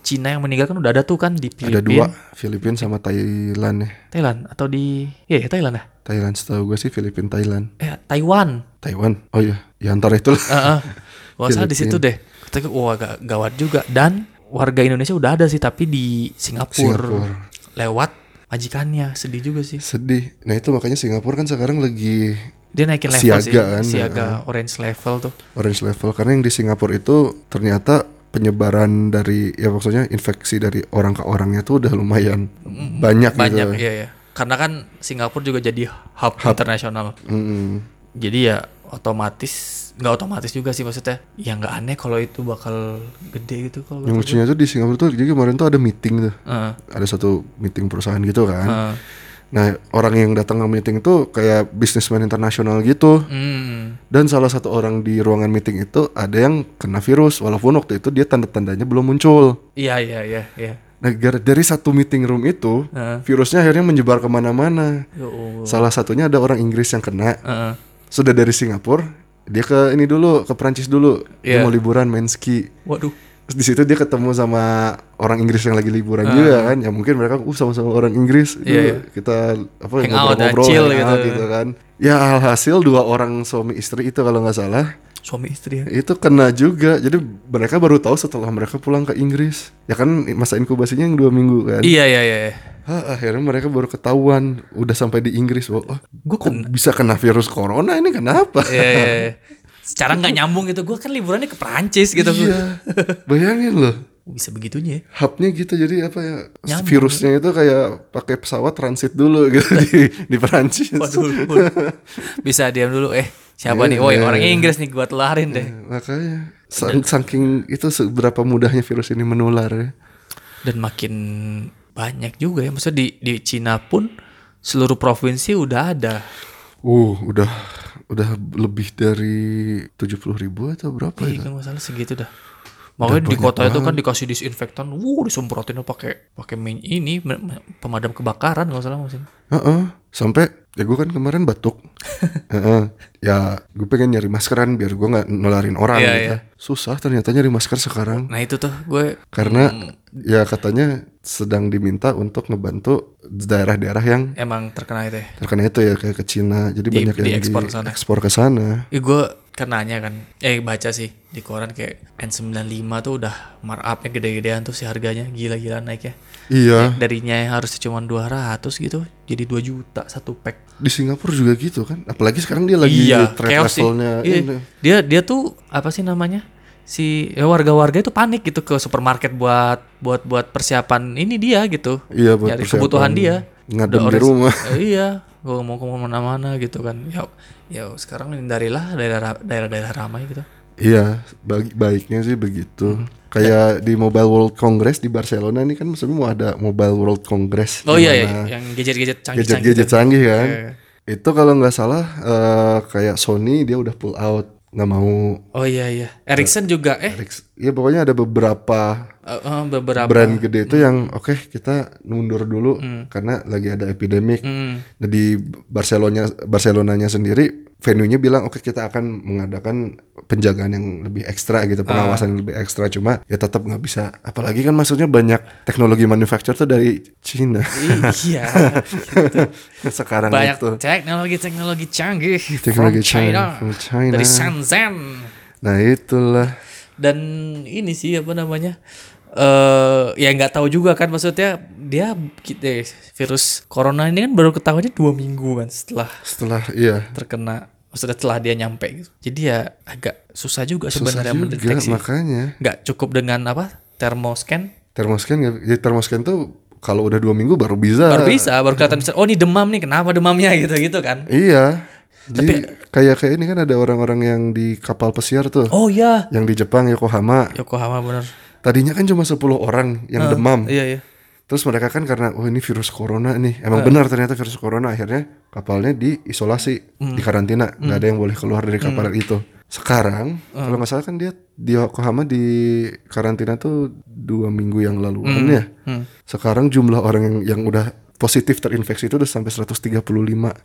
Speaker 1: Cina yang meninggal kan udah ada tuh kan di
Speaker 2: Ada dua,
Speaker 1: Filipina
Speaker 2: Filipina sama Thailand ya.
Speaker 1: Thailand atau di ya, ya Thailand ya
Speaker 2: Thailand setahu gue sih Filipina Thailand.
Speaker 1: eh Taiwan
Speaker 2: Taiwan. Oh iya, ya antara itulah.
Speaker 1: Heeh. Kalau nggak salah di situ deh kata gue wah ga- gawat juga dan warga Indonesia udah ada sih tapi di Singapura,
Speaker 2: Singapura.
Speaker 1: lewat majikannya sedih juga sih
Speaker 2: Sedih. Nah itu makanya Singapura kan sekarang lagi
Speaker 1: Dia naikin level
Speaker 2: Siaga
Speaker 1: sih,
Speaker 2: kan, Gitu.
Speaker 1: siaga orange level tuh.
Speaker 2: orange level karena yang di Singapura itu ternyata penyebaran dari ya maksudnya infeksi dari orang ke orangnya tuh udah lumayan banyak,
Speaker 1: Hmm, Banyak
Speaker 2: gitu.
Speaker 1: iya ya. Karena kan Singapura juga jadi hub, internasional.
Speaker 2: Mm-mm.
Speaker 1: Jadi ya otomatis nggak otomatis juga sih maksudnya. Ya nggak aneh kalau itu bakal gede gitu kalau Eh, kata
Speaker 2: Yang
Speaker 1: gue.
Speaker 2: lucunya tuh di Singapura tuh jadi kemarin tuh ada meeting tuh.
Speaker 1: Heeh,
Speaker 2: Ada satu meeting perusahaan gitu kan.
Speaker 1: heeh.
Speaker 2: Nah, orang yang datang ke meeting tuh kayak businessman internasional gitu.
Speaker 1: Hmm,
Speaker 2: Dan salah satu orang di ruangan meeting itu ada yang kena virus walaupun waktu itu dia tanda-tandanya belum muncul.
Speaker 1: Iya iya iya iya.
Speaker 2: Nah, gara- dari satu meeting room itu,
Speaker 1: Heeh.
Speaker 2: virusnya akhirnya menyebar kemana-mana.
Speaker 1: Ya Allah. Eh,
Speaker 2: Salah satunya ada orang Inggris yang kena.
Speaker 1: Heeh.
Speaker 2: Sudah dari Singapura, dia ke ini dulu, ke Prancis dulu. Dia
Speaker 1: Iya.
Speaker 2: mau liburan main ski.
Speaker 1: Waduh.
Speaker 2: Terus di situ dia ketemu sama orang Inggris yang lagi liburan juga kan. Ya mungkin mereka uh sama-sama orang Inggris dulu
Speaker 1: Ah. Iya, iya.
Speaker 2: kita apa
Speaker 1: Hang out, chill
Speaker 2: hangout
Speaker 1: gitu.
Speaker 2: kan. Ya alhasil dua orang suami istri itu kalau nggak salah
Speaker 1: Suami istri ya.
Speaker 2: itu kena juga. Jadi mereka baru tahu setelah mereka pulang ke Inggris. Ya kan masa inkubasinya yang dua minggu kan.
Speaker 1: Iya iya iya. iya.
Speaker 2: Hah, akhirnya mereka baru ketahuan udah sampai di Inggris bahwa "Wah,
Speaker 1: Gua
Speaker 2: kok
Speaker 1: kena."
Speaker 2: bisa kena virus corona ini kenapa?
Speaker 1: Iya iya. iya. Secara nggak nyambung gitu. Gue kan liburannya ke Perancis gitu.
Speaker 2: Iya. Bayangin loh.
Speaker 1: Bisa begitunya ya.
Speaker 2: Hubnya gitu jadi apa ya
Speaker 1: Nyambung.
Speaker 2: virusnya itu kayak pakai pesawat transit dulu gitu di di Perancis.
Speaker 1: Waduh, waduh. Bisa diam dulu. Eh, siapa
Speaker 2: Iya,
Speaker 1: nih? Woi, orang Inggris nih gua telarin deh.
Speaker 2: Makanya sang- saking itu seberapa mudahnya virus ini menular ya.
Speaker 1: Dan makin banyak juga ya. Maksudnya di di Cina pun seluruh provinsi udah ada.
Speaker 2: Uh, udah udah lebih dari 70 ribu atau berapa
Speaker 1: Iya,
Speaker 2: ya?
Speaker 1: nggak masalah segitu dah. Makanya di
Speaker 2: banyak
Speaker 1: kota itu kan dikasih disinfektan, wuh disemprotinnya pakai pakai min ini me- me- pemadam kebakaran nggak salah maksudnya.
Speaker 2: Heeh. Sampai ya gue kan kemarin batuk. Heeh. Ya gue pengen nyari maskeran biar gue nggak nularin orang.
Speaker 1: Iya,
Speaker 2: gitu.
Speaker 1: iya.
Speaker 2: Susah ternyata nyari masker sekarang
Speaker 1: Nah itu tuh gue
Speaker 2: karena
Speaker 1: Hmm.
Speaker 2: ya katanya sedang diminta untuk ngebantu daerah-daerah yang
Speaker 1: emang terkena itu. Ya.
Speaker 2: terkena itu ya kayak ke Cina. Jadi
Speaker 1: Di-
Speaker 2: banyak yang
Speaker 1: diekspor ke sana.
Speaker 2: diekspor ke sana.
Speaker 1: Eh, gue kenanya kan, eh baca sih di koran kayak N95 tuh udah markupnya gede-gedean tuh sih harganya gila-gilaan naiknya.
Speaker 2: Iya.
Speaker 1: Darinya yang harusnya cuma 200 gitu, jadi 2 juta satu pack.
Speaker 2: Di Singapura juga gitu kan. Apalagi sekarang dia lagi
Speaker 1: Iya,
Speaker 2: trade
Speaker 1: chaos sih.
Speaker 2: levelnya
Speaker 1: Iya.
Speaker 2: ini.
Speaker 1: Dia dia tuh apa sih namanya? Si ya, warga-warga itu panik gitu ke supermarket buat buat buat persiapan ini dia gitu.
Speaker 2: Iya, buat
Speaker 1: Nyari
Speaker 2: persiapan
Speaker 1: kebutuhan dia. Udah
Speaker 2: ngadem di
Speaker 1: ores-
Speaker 2: rumah.
Speaker 1: Eh, iya, gua mau ke mana-mana gitu kan. Ya, ya sekarang hindarilah daerah daerah-daerah ramai gitu.
Speaker 2: Iya, baik baiknya sih begitu.
Speaker 1: Hmm.
Speaker 2: Kayak di Mobile World Congress di Barcelona nih kan sebenarnya mau ada Mobile World Congress.
Speaker 1: Oh
Speaker 2: di
Speaker 1: iya, iya,
Speaker 2: mana
Speaker 1: yang gadget-gadget canggih-canggih.
Speaker 2: Gadget-gadget canggih kan.
Speaker 1: Iya, iya.
Speaker 2: Itu kalau nggak salah eh, kayak Sony dia udah pull out nggak mau.
Speaker 1: Oh iya iya. Ericsson juga eh
Speaker 2: Erics- Ya pokoknya ada beberapa
Speaker 1: eh, eh, beberapa
Speaker 2: brand gede
Speaker 1: Hmm.
Speaker 2: itu yang oke kita mundur dulu karena lagi ada epidemik.
Speaker 1: Hmm.
Speaker 2: Jadi Barcelona Barcelonanya sendiri venue-nya bilang oke kita akan mengadakan penjagaan yang lebih
Speaker 1: Ah.
Speaker 2: ekstra gitu pengawasan yang lebih ekstra cuma ya tetap nggak bisa apalagi kan maksudnya banyak teknologi manufacturer tuh dari Cina
Speaker 1: iya.
Speaker 2: sekarang
Speaker 1: Banyak
Speaker 2: Nah, itu
Speaker 1: teknologi-teknologi canggih
Speaker 2: teknologi
Speaker 1: from China,
Speaker 2: China, from China.
Speaker 1: dari Shenzhen.
Speaker 2: nah itulah
Speaker 1: Dan ini sih apa namanya? eh ya nggak tahu juga kan maksudnya dia eh, virus corona ini kan baru ketahuannya dua minggu kan setelah
Speaker 2: setelah iya
Speaker 1: terkena maksudnya setelah dia nyampe gitu. Jadi ya agak susah juga
Speaker 2: susah
Speaker 1: sebenarnya
Speaker 2: juga
Speaker 1: mendeteksi.
Speaker 2: makanya
Speaker 1: Nggak cukup dengan apa? Thermoscan
Speaker 2: termoscan nggak jadi thermoscan tuh kalau udah dua minggu baru bisa
Speaker 1: baru bisa baru kelihatan bisa oh ini demam nih kenapa demamnya gitu gitu kan
Speaker 2: iya jadi kayak kayak ini kan ada orang-orang yang di kapal pesiar tuh
Speaker 1: oh iya
Speaker 2: yang di Jepang Yokohama
Speaker 1: Yokohama bener
Speaker 2: tadinya kan cuma 10 orang yang demam
Speaker 1: iya iya
Speaker 2: terus mereka kan karena oh ini virus corona nih emang benar ternyata virus corona akhirnya kapalnya diisolasi di karantina nggak ada yang boleh keluar dari kapal itu sekarang kalau nggak salah kan dia di Yokohama di karantina tuh dua minggu yang lalu ya sekarang jumlah orang yang, yang udah positif terinfeksi itu udah sampai 135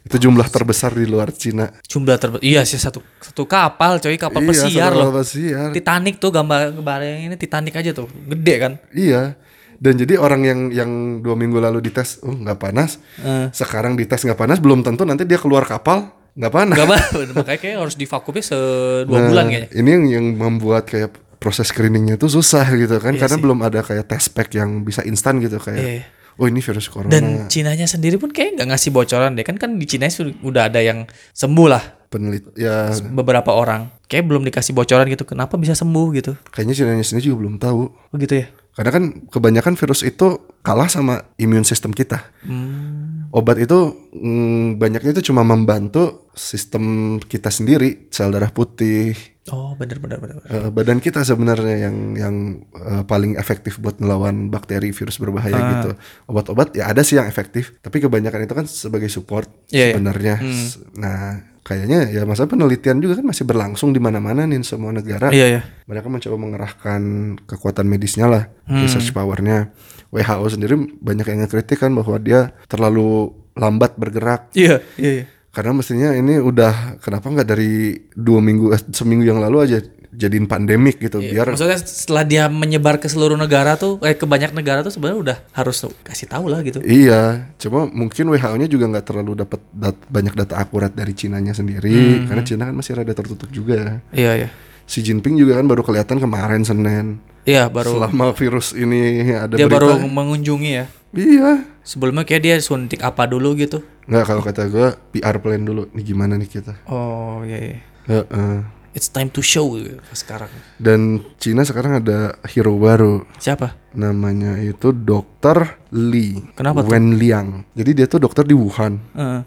Speaker 2: itu jumlah terbesar di luar Cina
Speaker 1: jumlah terbe iya sih satu satu kapal coy kapal
Speaker 2: Iya,
Speaker 1: pesiar
Speaker 2: satu
Speaker 1: loh
Speaker 2: kapal pesiar.
Speaker 1: Titanic tuh gambar gambar yang ini Titanic aja tuh gede kan
Speaker 2: Iya. Dan jadi orang yang yang dua minggu lalu dites, oh nggak panas. Sekarang dites nggak panas, belum tentu nanti dia keluar kapal nggak panas.
Speaker 1: gambar makanya kayak harus divakumnya se dua
Speaker 2: Nah,
Speaker 1: bulan kayaknya
Speaker 2: Ini yang yang membuat kayak proses screeningnya tuh susah gitu kan, karena belum ada kayak test pack yang bisa instan gitu
Speaker 1: Iya.
Speaker 2: kayak. Oh ini virus corona.
Speaker 1: dan Cinanya sendiri pun kayak nggak ngasih bocoran deh kan kan di Cina su- udah ada yang sembuh lah
Speaker 2: Penelit, ya
Speaker 1: beberapa orang kayak belum dikasih bocoran gitu kenapa bisa sembuh gitu
Speaker 2: kayaknya Cina sendiri juga belum tahu.
Speaker 1: begitu ya
Speaker 2: Karena kan kebanyakan virus itu kalah sama imun sistem kita. Obat itu mm, banyaknya itu cuma membantu sistem kita sendiri, sel darah putih,
Speaker 1: oh bener bener bener bener.
Speaker 2: eh, badan kita sebenarnya yang yang eh, paling efektif buat melawan bakteri virus berbahaya
Speaker 1: Ah.
Speaker 2: gitu. Obat-obat ya ada sih yang efektif, tapi kebanyakan itu kan sebagai support
Speaker 1: Iya, iya.
Speaker 2: sebenarnya. S- Nah, kayaknya ya masa penelitian juga kan masih berlangsung di mana-mana nih semua negara
Speaker 1: iya ya
Speaker 2: mereka mencoba mengerahkan kekuatan medisnya lah
Speaker 1: Hmm.
Speaker 2: research powernya WHO sendiri banyak yang ngekritik kan bahwa dia terlalu lambat bergerak
Speaker 1: iya iya iya.
Speaker 2: karena mestinya ini udah kenapa nggak dari dua minggu eh, seminggu yang lalu aja jadiin pandemik gitu biar
Speaker 1: Iya, Maksudnya setelah dia menyebar ke seluruh negara tuh, eh ke banyak negara tuh sebenarnya udah harus tuh kasih tahu lah gitu.
Speaker 2: Iya, cuma mungkin WHO-nya juga nggak terlalu dapat dat- banyak data akurat dari Cinanya
Speaker 1: Hmm.
Speaker 2: sendiri, karena Cina kan masih rada tertutup juga.
Speaker 1: Iya iya.
Speaker 2: Xi Jinping juga kan baru kelihatan kemarin Senin,
Speaker 1: Iya baru
Speaker 2: selama virus ini ada
Speaker 1: dia baru
Speaker 2: berita.
Speaker 1: mengunjungi ya.
Speaker 2: Iya,
Speaker 1: Sebelumnya kayak dia suntik apa dulu gitu.
Speaker 2: Nggak kalau kata gue PR plan dulu nih gimana nih kita.
Speaker 1: Oh iya iya.
Speaker 2: Heeh.
Speaker 1: It's time to show gitu, sekarang.
Speaker 2: Dan Cina sekarang ada hero baru
Speaker 1: Siapa?
Speaker 2: namanya itu Dokter Li.
Speaker 1: Kenapa tuh?
Speaker 2: Wen Liang. Jadi dia tuh dokter di Wuhan.
Speaker 1: Eh,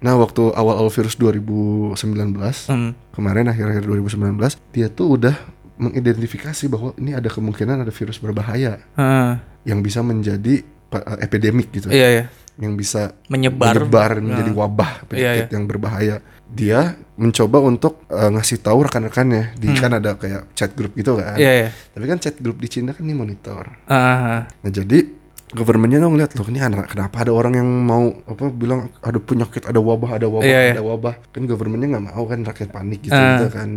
Speaker 2: Nah waktu awal-awal virus 2019
Speaker 1: hmm.
Speaker 2: kemarin akhir-akhir 2019 dia tuh udah mengidentifikasi bahwa ini ada kemungkinan ada virus berbahaya
Speaker 1: Eh,
Speaker 2: yang bisa menjadi pa- epidemik gitu
Speaker 1: Iya ya.
Speaker 2: yang bisa
Speaker 1: Menyebar.
Speaker 2: menyebar
Speaker 1: Nah.
Speaker 2: menjadi wabah penyakit
Speaker 1: Iya, iya.
Speaker 2: yang berbahaya. Dia mencoba untuk eh, ngasih tahu rekan-rekannya di kan ada kayak chat group gitu kan.
Speaker 1: Hmm. Iya ya.
Speaker 2: Tapi kan chat group di Cina kan di monitor.
Speaker 1: Ah,
Speaker 2: Nah jadi governmentnya tuh ngeliat loh ini anak kenapa ada orang yang mau apa bilang ada penyakit ada wabah ada wabah
Speaker 1: Iya, iya.
Speaker 2: ada wabah kan governmentnya nggak mau kan rakyat panik gitu,
Speaker 1: Ah.
Speaker 2: gitu kan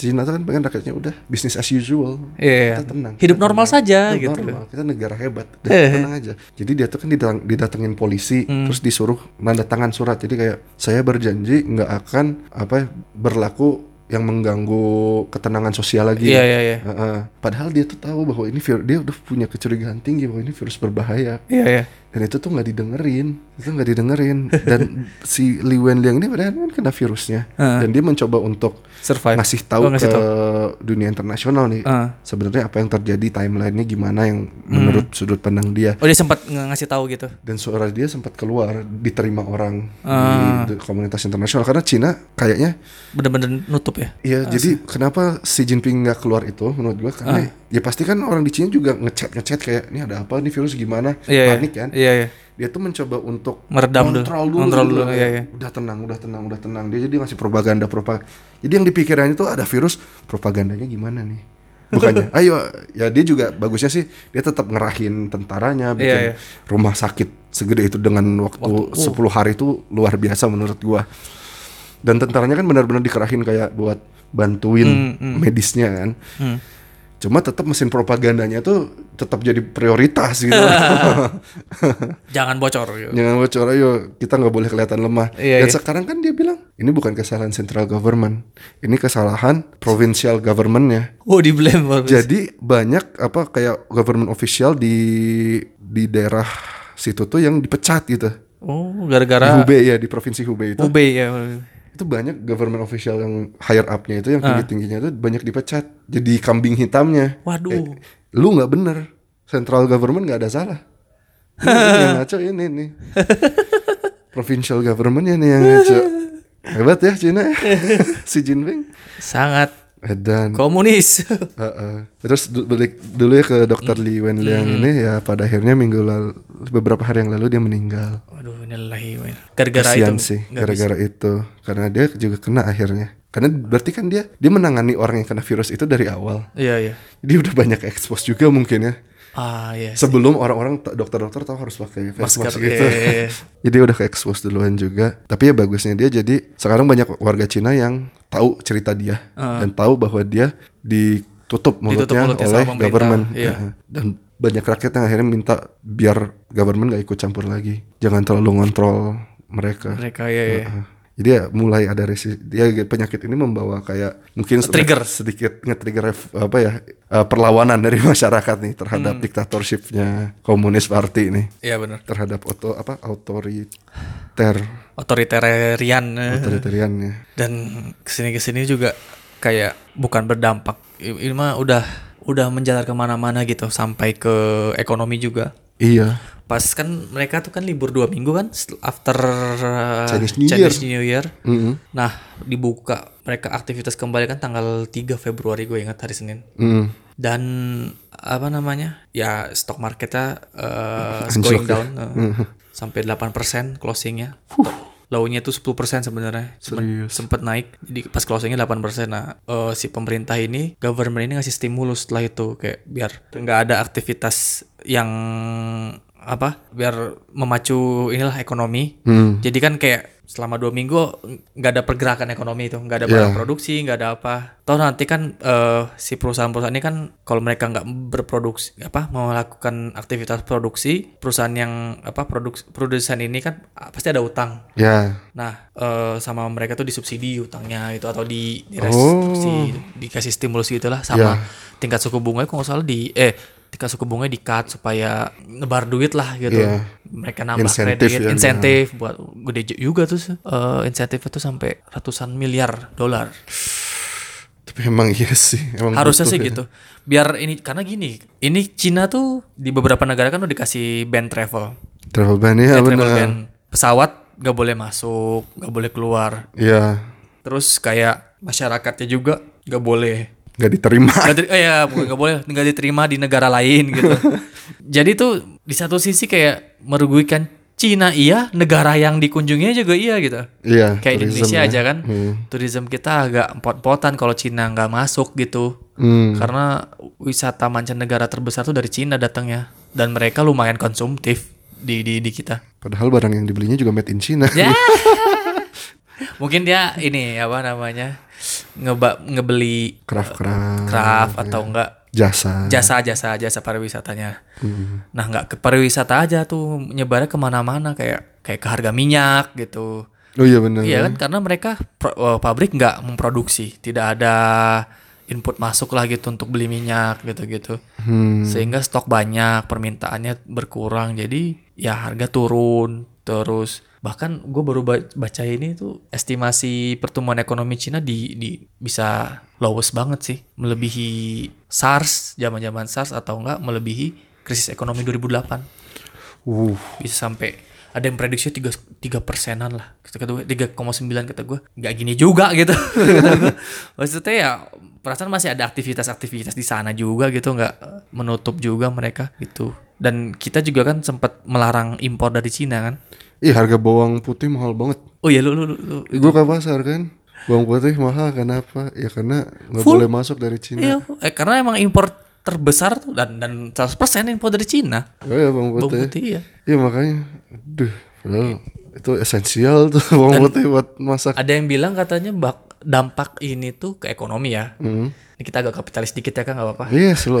Speaker 2: Cina tuh kan pengen rakyatnya udah bisnis as usual
Speaker 1: Iya.
Speaker 2: kita tenang
Speaker 1: Hidup
Speaker 2: kita
Speaker 1: normal
Speaker 2: tenang.
Speaker 1: saja
Speaker 2: Hidup
Speaker 1: gitu.
Speaker 2: normal. kita negara hebat udah,
Speaker 1: Eh. Hmm.
Speaker 2: tenang aja jadi dia tuh kan didatang- didatengin polisi terus disuruh nanda tangan surat jadi kayak saya berjanji nggak akan apa ya, berlaku yang mengganggu ketenangan sosial lagi
Speaker 1: Iya iya iya.
Speaker 2: Heeh. padahal dia tuh tahu bahwa ini vir- dia udah punya kecurigaan tinggi bahwa ini virus berbahaya
Speaker 1: Iya ya.
Speaker 2: dan itu tuh nggak didengerin itu nggak didengerin dan si Li Wenliang ini padahal kan kena virusnya
Speaker 1: Heeh.
Speaker 2: dan dia mencoba untuk
Speaker 1: Survive.
Speaker 2: ngasih tahu
Speaker 1: Oh, ngasih
Speaker 2: ke
Speaker 1: tahu.
Speaker 2: dunia internasional nih
Speaker 1: Ah.
Speaker 2: sebenarnya apa yang terjadi timelinenya gimana yang menurut sudut pandang dia
Speaker 1: Oh dia sempat nge- ngasih tahu gitu.
Speaker 2: dan suara dia sempat keluar diterima orang
Speaker 1: Ah.
Speaker 2: di, di komunitas internasional karena Cina kayaknya
Speaker 1: Bener-bener nutup ya.
Speaker 2: ya jadi kenapa Xi Jinping nggak keluar itu menurut gua
Speaker 1: Ah.
Speaker 2: karena ya pasti kan orang di Cina juga ngechat ngechat kayak ini ada apa nih virus gimana
Speaker 1: Iya ya.
Speaker 2: panik kan
Speaker 1: Iya ya.
Speaker 2: dia tuh mencoba untuk
Speaker 1: Meredam dulu.
Speaker 2: kontrol dulu,
Speaker 1: Kontrol
Speaker 2: gitu
Speaker 1: dulu,
Speaker 2: loh.
Speaker 1: iya, iya.
Speaker 2: udah tenang udah tenang udah tenang dia jadi ngasih propaganda propaganda jadi yang dipikirannya tuh ada virus propagandanya gimana nih bukannya ayo ya dia juga bagusnya sih dia tetap ngerahin tentaranya
Speaker 1: Iya, uh. iya.
Speaker 2: bikin rumah sakit segede itu dengan waktu, 10 hari itu luar biasa menurut gua dan tentaranya kan benar-benar dikerahin kayak buat bantuin
Speaker 1: Hmm,
Speaker 2: medisnya kan cuma tetap mesin propagandanya tuh tetap jadi prioritas gitu
Speaker 1: Jangan bocor gitu.
Speaker 2: Jangan bocor ayo kita nggak boleh kelihatan lemah.
Speaker 1: Iya,
Speaker 2: Dan
Speaker 1: iya.
Speaker 2: sekarang kan dia bilang ini bukan kesalahan central government, ini kesalahan provincial governmentnya.
Speaker 1: Oh di blame
Speaker 2: Jadi banyak apa kayak government official di di daerah situ tuh yang dipecat gitu.
Speaker 1: Oh
Speaker 2: Di
Speaker 1: gara-gara
Speaker 2: Hubei ya di provinsi Hubei itu.
Speaker 1: Hubei ya.
Speaker 2: Itu banyak government official yang higher upnya itu yang
Speaker 1: Ah.
Speaker 2: tinggi tingginya itu banyak dipecat. Jadi kambing hitamnya.
Speaker 1: Waduh.
Speaker 2: Lu nggak bener. Central government nggak ada salah. Ini ini yang ngaco ini nih. Provincial governmentnya nih yang ngaco. Hebat ya Cina ya. si Jinping.
Speaker 1: Sangat
Speaker 2: Edan.
Speaker 1: komunis.
Speaker 2: Heeh. Terus du- balik dulu ya ke dokter
Speaker 1: Mm.
Speaker 2: Li Wenliang ini ya pada akhirnya minggu lalu beberapa hari yang lalu dia meninggal.
Speaker 1: Waduh innalillahi wa inna- Gara-gara itu.
Speaker 2: Kasihan sih
Speaker 1: nggak bisa.
Speaker 2: gara-gara itu karena dia juga kena akhirnya. Karena berarti kan dia dia menangani orang yang kena virus itu dari awal.
Speaker 1: Iya iya.
Speaker 2: Dia udah banyak expose juga mungkin ya.
Speaker 1: Ah iya.
Speaker 2: Sebelum orang-orang t- dokter-dokter tahu harus pakai face
Speaker 1: Masker,
Speaker 2: mask gitu.
Speaker 1: iya, iya, iya.
Speaker 2: jadi udah ke expose duluan juga. Tapi ya bagusnya dia jadi sekarang banyak warga Cina yang tahu cerita dia dan tahu bahwa dia ditutup
Speaker 1: Ah.
Speaker 2: mulutnya,
Speaker 1: Ditutup mulutnya sama
Speaker 2: oleh
Speaker 1: pemerintah,
Speaker 2: government.
Speaker 1: iya.
Speaker 2: Nah, Dan banyak rakyat yang akhirnya minta biar government gak ikut campur lagi. Jangan terlalu ngontrol mereka.
Speaker 1: Mereka ya. ya.
Speaker 2: Heeh. Jadi ya mulai ada resi dia penyakit ini membawa kayak mungkin se-
Speaker 1: Trigger.
Speaker 2: sedikit nge-trigger ref- apa ya eh, perlawanan dari masyarakat nih terhadap
Speaker 1: Hmm.
Speaker 2: diktatorshipnya komunis party nih
Speaker 1: Iya benar.
Speaker 2: terhadap auto apa otoriter
Speaker 1: Otoritarian. eh.
Speaker 2: otoritariannya.
Speaker 1: dan kesini kesini juga kayak bukan berdampak I- ini mah udah udah menjalar kemana-mana gitu sampai ke ekonomi juga
Speaker 2: Iya.
Speaker 1: pas kan mereka tuh kan libur dua minggu kan setel- after uh,
Speaker 2: Chinese New
Speaker 1: New Year.
Speaker 2: Mm-mm.
Speaker 1: nah dibuka mereka aktivitas kembali kan tanggal 3 Februari gue ingat hari Senin
Speaker 2: Mm.
Speaker 1: dan apa namanya ya stock marketnya uh, is going
Speaker 2: Anjlok ya.
Speaker 1: down uh, sampai 8% closingnya low-nya itu 10% sebenarnya Sempat- sempat naik jadi pas closingnya 8% nah eh, si pemerintah ini government ini ngasih stimulus setelah itu kayak biar nggak ada aktivitas yang apa biar memacu inilah ekonomi
Speaker 2: Hmm.
Speaker 1: jadi kan kayak selama dua minggu nggak ada pergerakan ekonomi itu, nggak ada barang produksi, nggak ada apa. Toh nanti kan eh, si perusahaan-perusahaan ini kan kalau mereka nggak berproduksi apa melakukan aktivitas produksi, perusahaan yang apa produk produsen ini kan ah, pasti ada utang.
Speaker 2: Ya.
Speaker 1: Nah, eh, sama mereka tuh disubsidi utangnya itu atau di
Speaker 2: Oh. Ya.
Speaker 1: direstitusi, dikasih stimulus gitulah sama tingkat suku bunga kalau nggak salah di eh tingkat suku bunga di cut supaya nebar duit lah gitu.
Speaker 2: Iya.
Speaker 1: Mereka nambah
Speaker 2: Insentif
Speaker 1: kredit,
Speaker 2: ya,
Speaker 1: insentif buat gede ju- juga tuh eh, insentifnya tuh sampai ratusan miliar dolar.
Speaker 2: Tapi emang iya sih. Emang
Speaker 1: Harusnya
Speaker 2: butuh
Speaker 1: sih
Speaker 2: ya.
Speaker 1: gitu. Biar ini karena gini, ini Cina tuh di beberapa negara kan udah dikasih ban travel.
Speaker 2: Travel ban ya
Speaker 1: Kayak travel
Speaker 2: benar.
Speaker 1: ban. Pesawat nggak boleh masuk, nggak boleh keluar.
Speaker 2: Iya.
Speaker 1: Terus kayak masyarakatnya juga nggak boleh oh
Speaker 2: Gak diterima.
Speaker 1: iya, nggak teri- eh, ya bukan nggak boleh nggak diterima di negara lain gitu jadi tuh di satu sisi kayak merugikan Cina iya, negara yang dikunjunginya juga iya gitu.
Speaker 2: Iya.
Speaker 1: Kayak di
Speaker 2: tourism
Speaker 1: Indonesia
Speaker 2: ya.
Speaker 1: aja kan,
Speaker 2: Hmm.
Speaker 1: tourism kita agak empot-potan kalau Cina nggak masuk gitu.
Speaker 2: Hmm.
Speaker 1: Karena wisata mancanegara terbesar tuh dari Cina datangnya dan mereka lumayan konsumtif di di, di kita.
Speaker 2: Padahal barang yang dibelinya juga made in China.
Speaker 1: Ya. Mungkin dia ini apa namanya? Ngeba, ngebeli
Speaker 2: Craft craft.
Speaker 1: craft atau enggak
Speaker 2: Jasa.
Speaker 1: jasa jasa jasa pariwisatanya nah nggak ke pariwisata aja tuh nyebarnya kemana-mana kayak kayak ke harga minyak gitu
Speaker 2: Oh iya benar.
Speaker 1: iya kan karena mereka pro- eh, pabrik nggak memproduksi tidak ada input masuk lah gitu untuk beli minyak gitu-gitu
Speaker 2: Hmm.
Speaker 1: sehingga stok banyak permintaannya berkurang jadi ya harga turun terus bahkan gue baru ba- baca ini tuh estimasi pertumbuhan ekonomi Cina di, di bisa lowest banget sih melebihi SARS zaman zaman SARS atau enggak melebihi krisis ekonomi 2008
Speaker 2: Uh.
Speaker 1: bisa sampai ada yang prediksi 3, 3 persenan lah kata kata gue 3,9 kata gue nggak gini juga gitu Kata gue. maksudnya ya perasaan masih ada aktivitas-aktivitas di sana juga gitu nggak eh, menutup juga mereka gitu dan kita juga kan sempat melarang impor dari Cina kan
Speaker 2: Ih harga bawang putih mahal banget.
Speaker 1: oh iya lu lu, lu, lu.
Speaker 2: Gue ke pasar kan. Bawang putih mahal kenapa? Ya karena nggak
Speaker 1: Full.
Speaker 2: boleh masuk dari Cina.
Speaker 1: Iya, eh, karena emang impor terbesar tuh dan dan 100% impor dari Cina
Speaker 2: Oh iya bawang
Speaker 1: bawang
Speaker 2: putih.
Speaker 1: putih ya
Speaker 2: Iya makanya. Duh. Padahal itu esensial tuh
Speaker 1: Kan-
Speaker 2: bawang putih buat masak.
Speaker 1: ada yang bilang katanya bak dampak ini tuh ke ekonomi ya
Speaker 2: Hmm.
Speaker 1: ini kita agak kapitalis dikit ya kan nggak apa-apa
Speaker 2: Iya slow.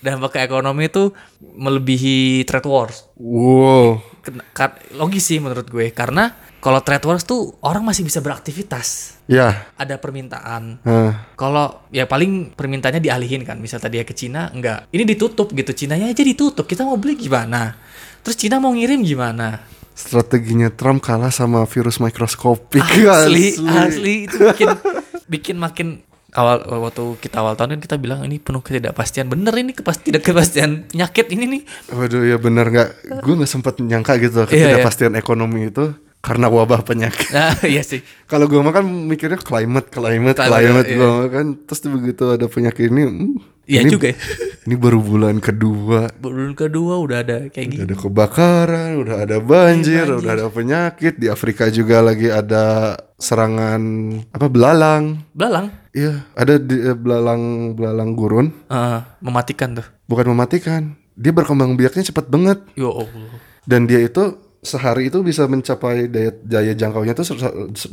Speaker 1: dampak ke ekonomi itu melebihi trade wars.
Speaker 2: wow.
Speaker 1: Ken- kar- Logis sih menurut gue karena kalau trade wars tuh orang masih bisa beraktivitas,
Speaker 2: Ya. eh,
Speaker 1: ada permintaan.
Speaker 2: Hah.
Speaker 1: Kalau ya paling permintaannya dialihin kan, misal tadi ya ke Cina enggak. Ini ditutup gitu, Cinanya aja ditutup. Kita mau beli gimana? Terus Cina mau ngirim gimana?
Speaker 2: strateginya Trump kalah sama virus mikroskopik
Speaker 1: Asli, asli itu bikin bikin makin awal waktu kita awal tahun kan kita bilang ini penuh ketidakpastian. Bener ini kepasti tidak kepastian penyakit ini nih.
Speaker 2: Waduh ya benar nggak? Gue nggak sempat nyangka
Speaker 1: Iya,
Speaker 2: gitu ketidakpastian ekonomi itu karena wabah penyakit.
Speaker 1: Nah, iya sih.
Speaker 2: Kalau gue makan mikirnya climate,
Speaker 1: Climate,
Speaker 2: climate, climate
Speaker 1: iya.
Speaker 2: gue makan. Terus begitu ada penyakit ini, hmm,
Speaker 1: Iya
Speaker 2: ini-
Speaker 1: juga ya.
Speaker 2: Ini baru bulan kedua,
Speaker 1: bulan kedua udah ada kayak
Speaker 2: udah
Speaker 1: gini.
Speaker 2: ada kebakaran, udah ada banjir,
Speaker 1: Iya,
Speaker 2: udah ada penyakit. Di Afrika juga lagi ada serangan apa belalang.
Speaker 1: Belalang
Speaker 2: Iya, ada di, eh, belalang belalang gurun,
Speaker 1: eh, mematikan tuh.
Speaker 2: bukan mematikan. Dia berkembang biaknya cepat banget.
Speaker 1: Ya Allah.
Speaker 2: dan dia itu sehari itu bisa mencapai daya, daya jangkaunya itu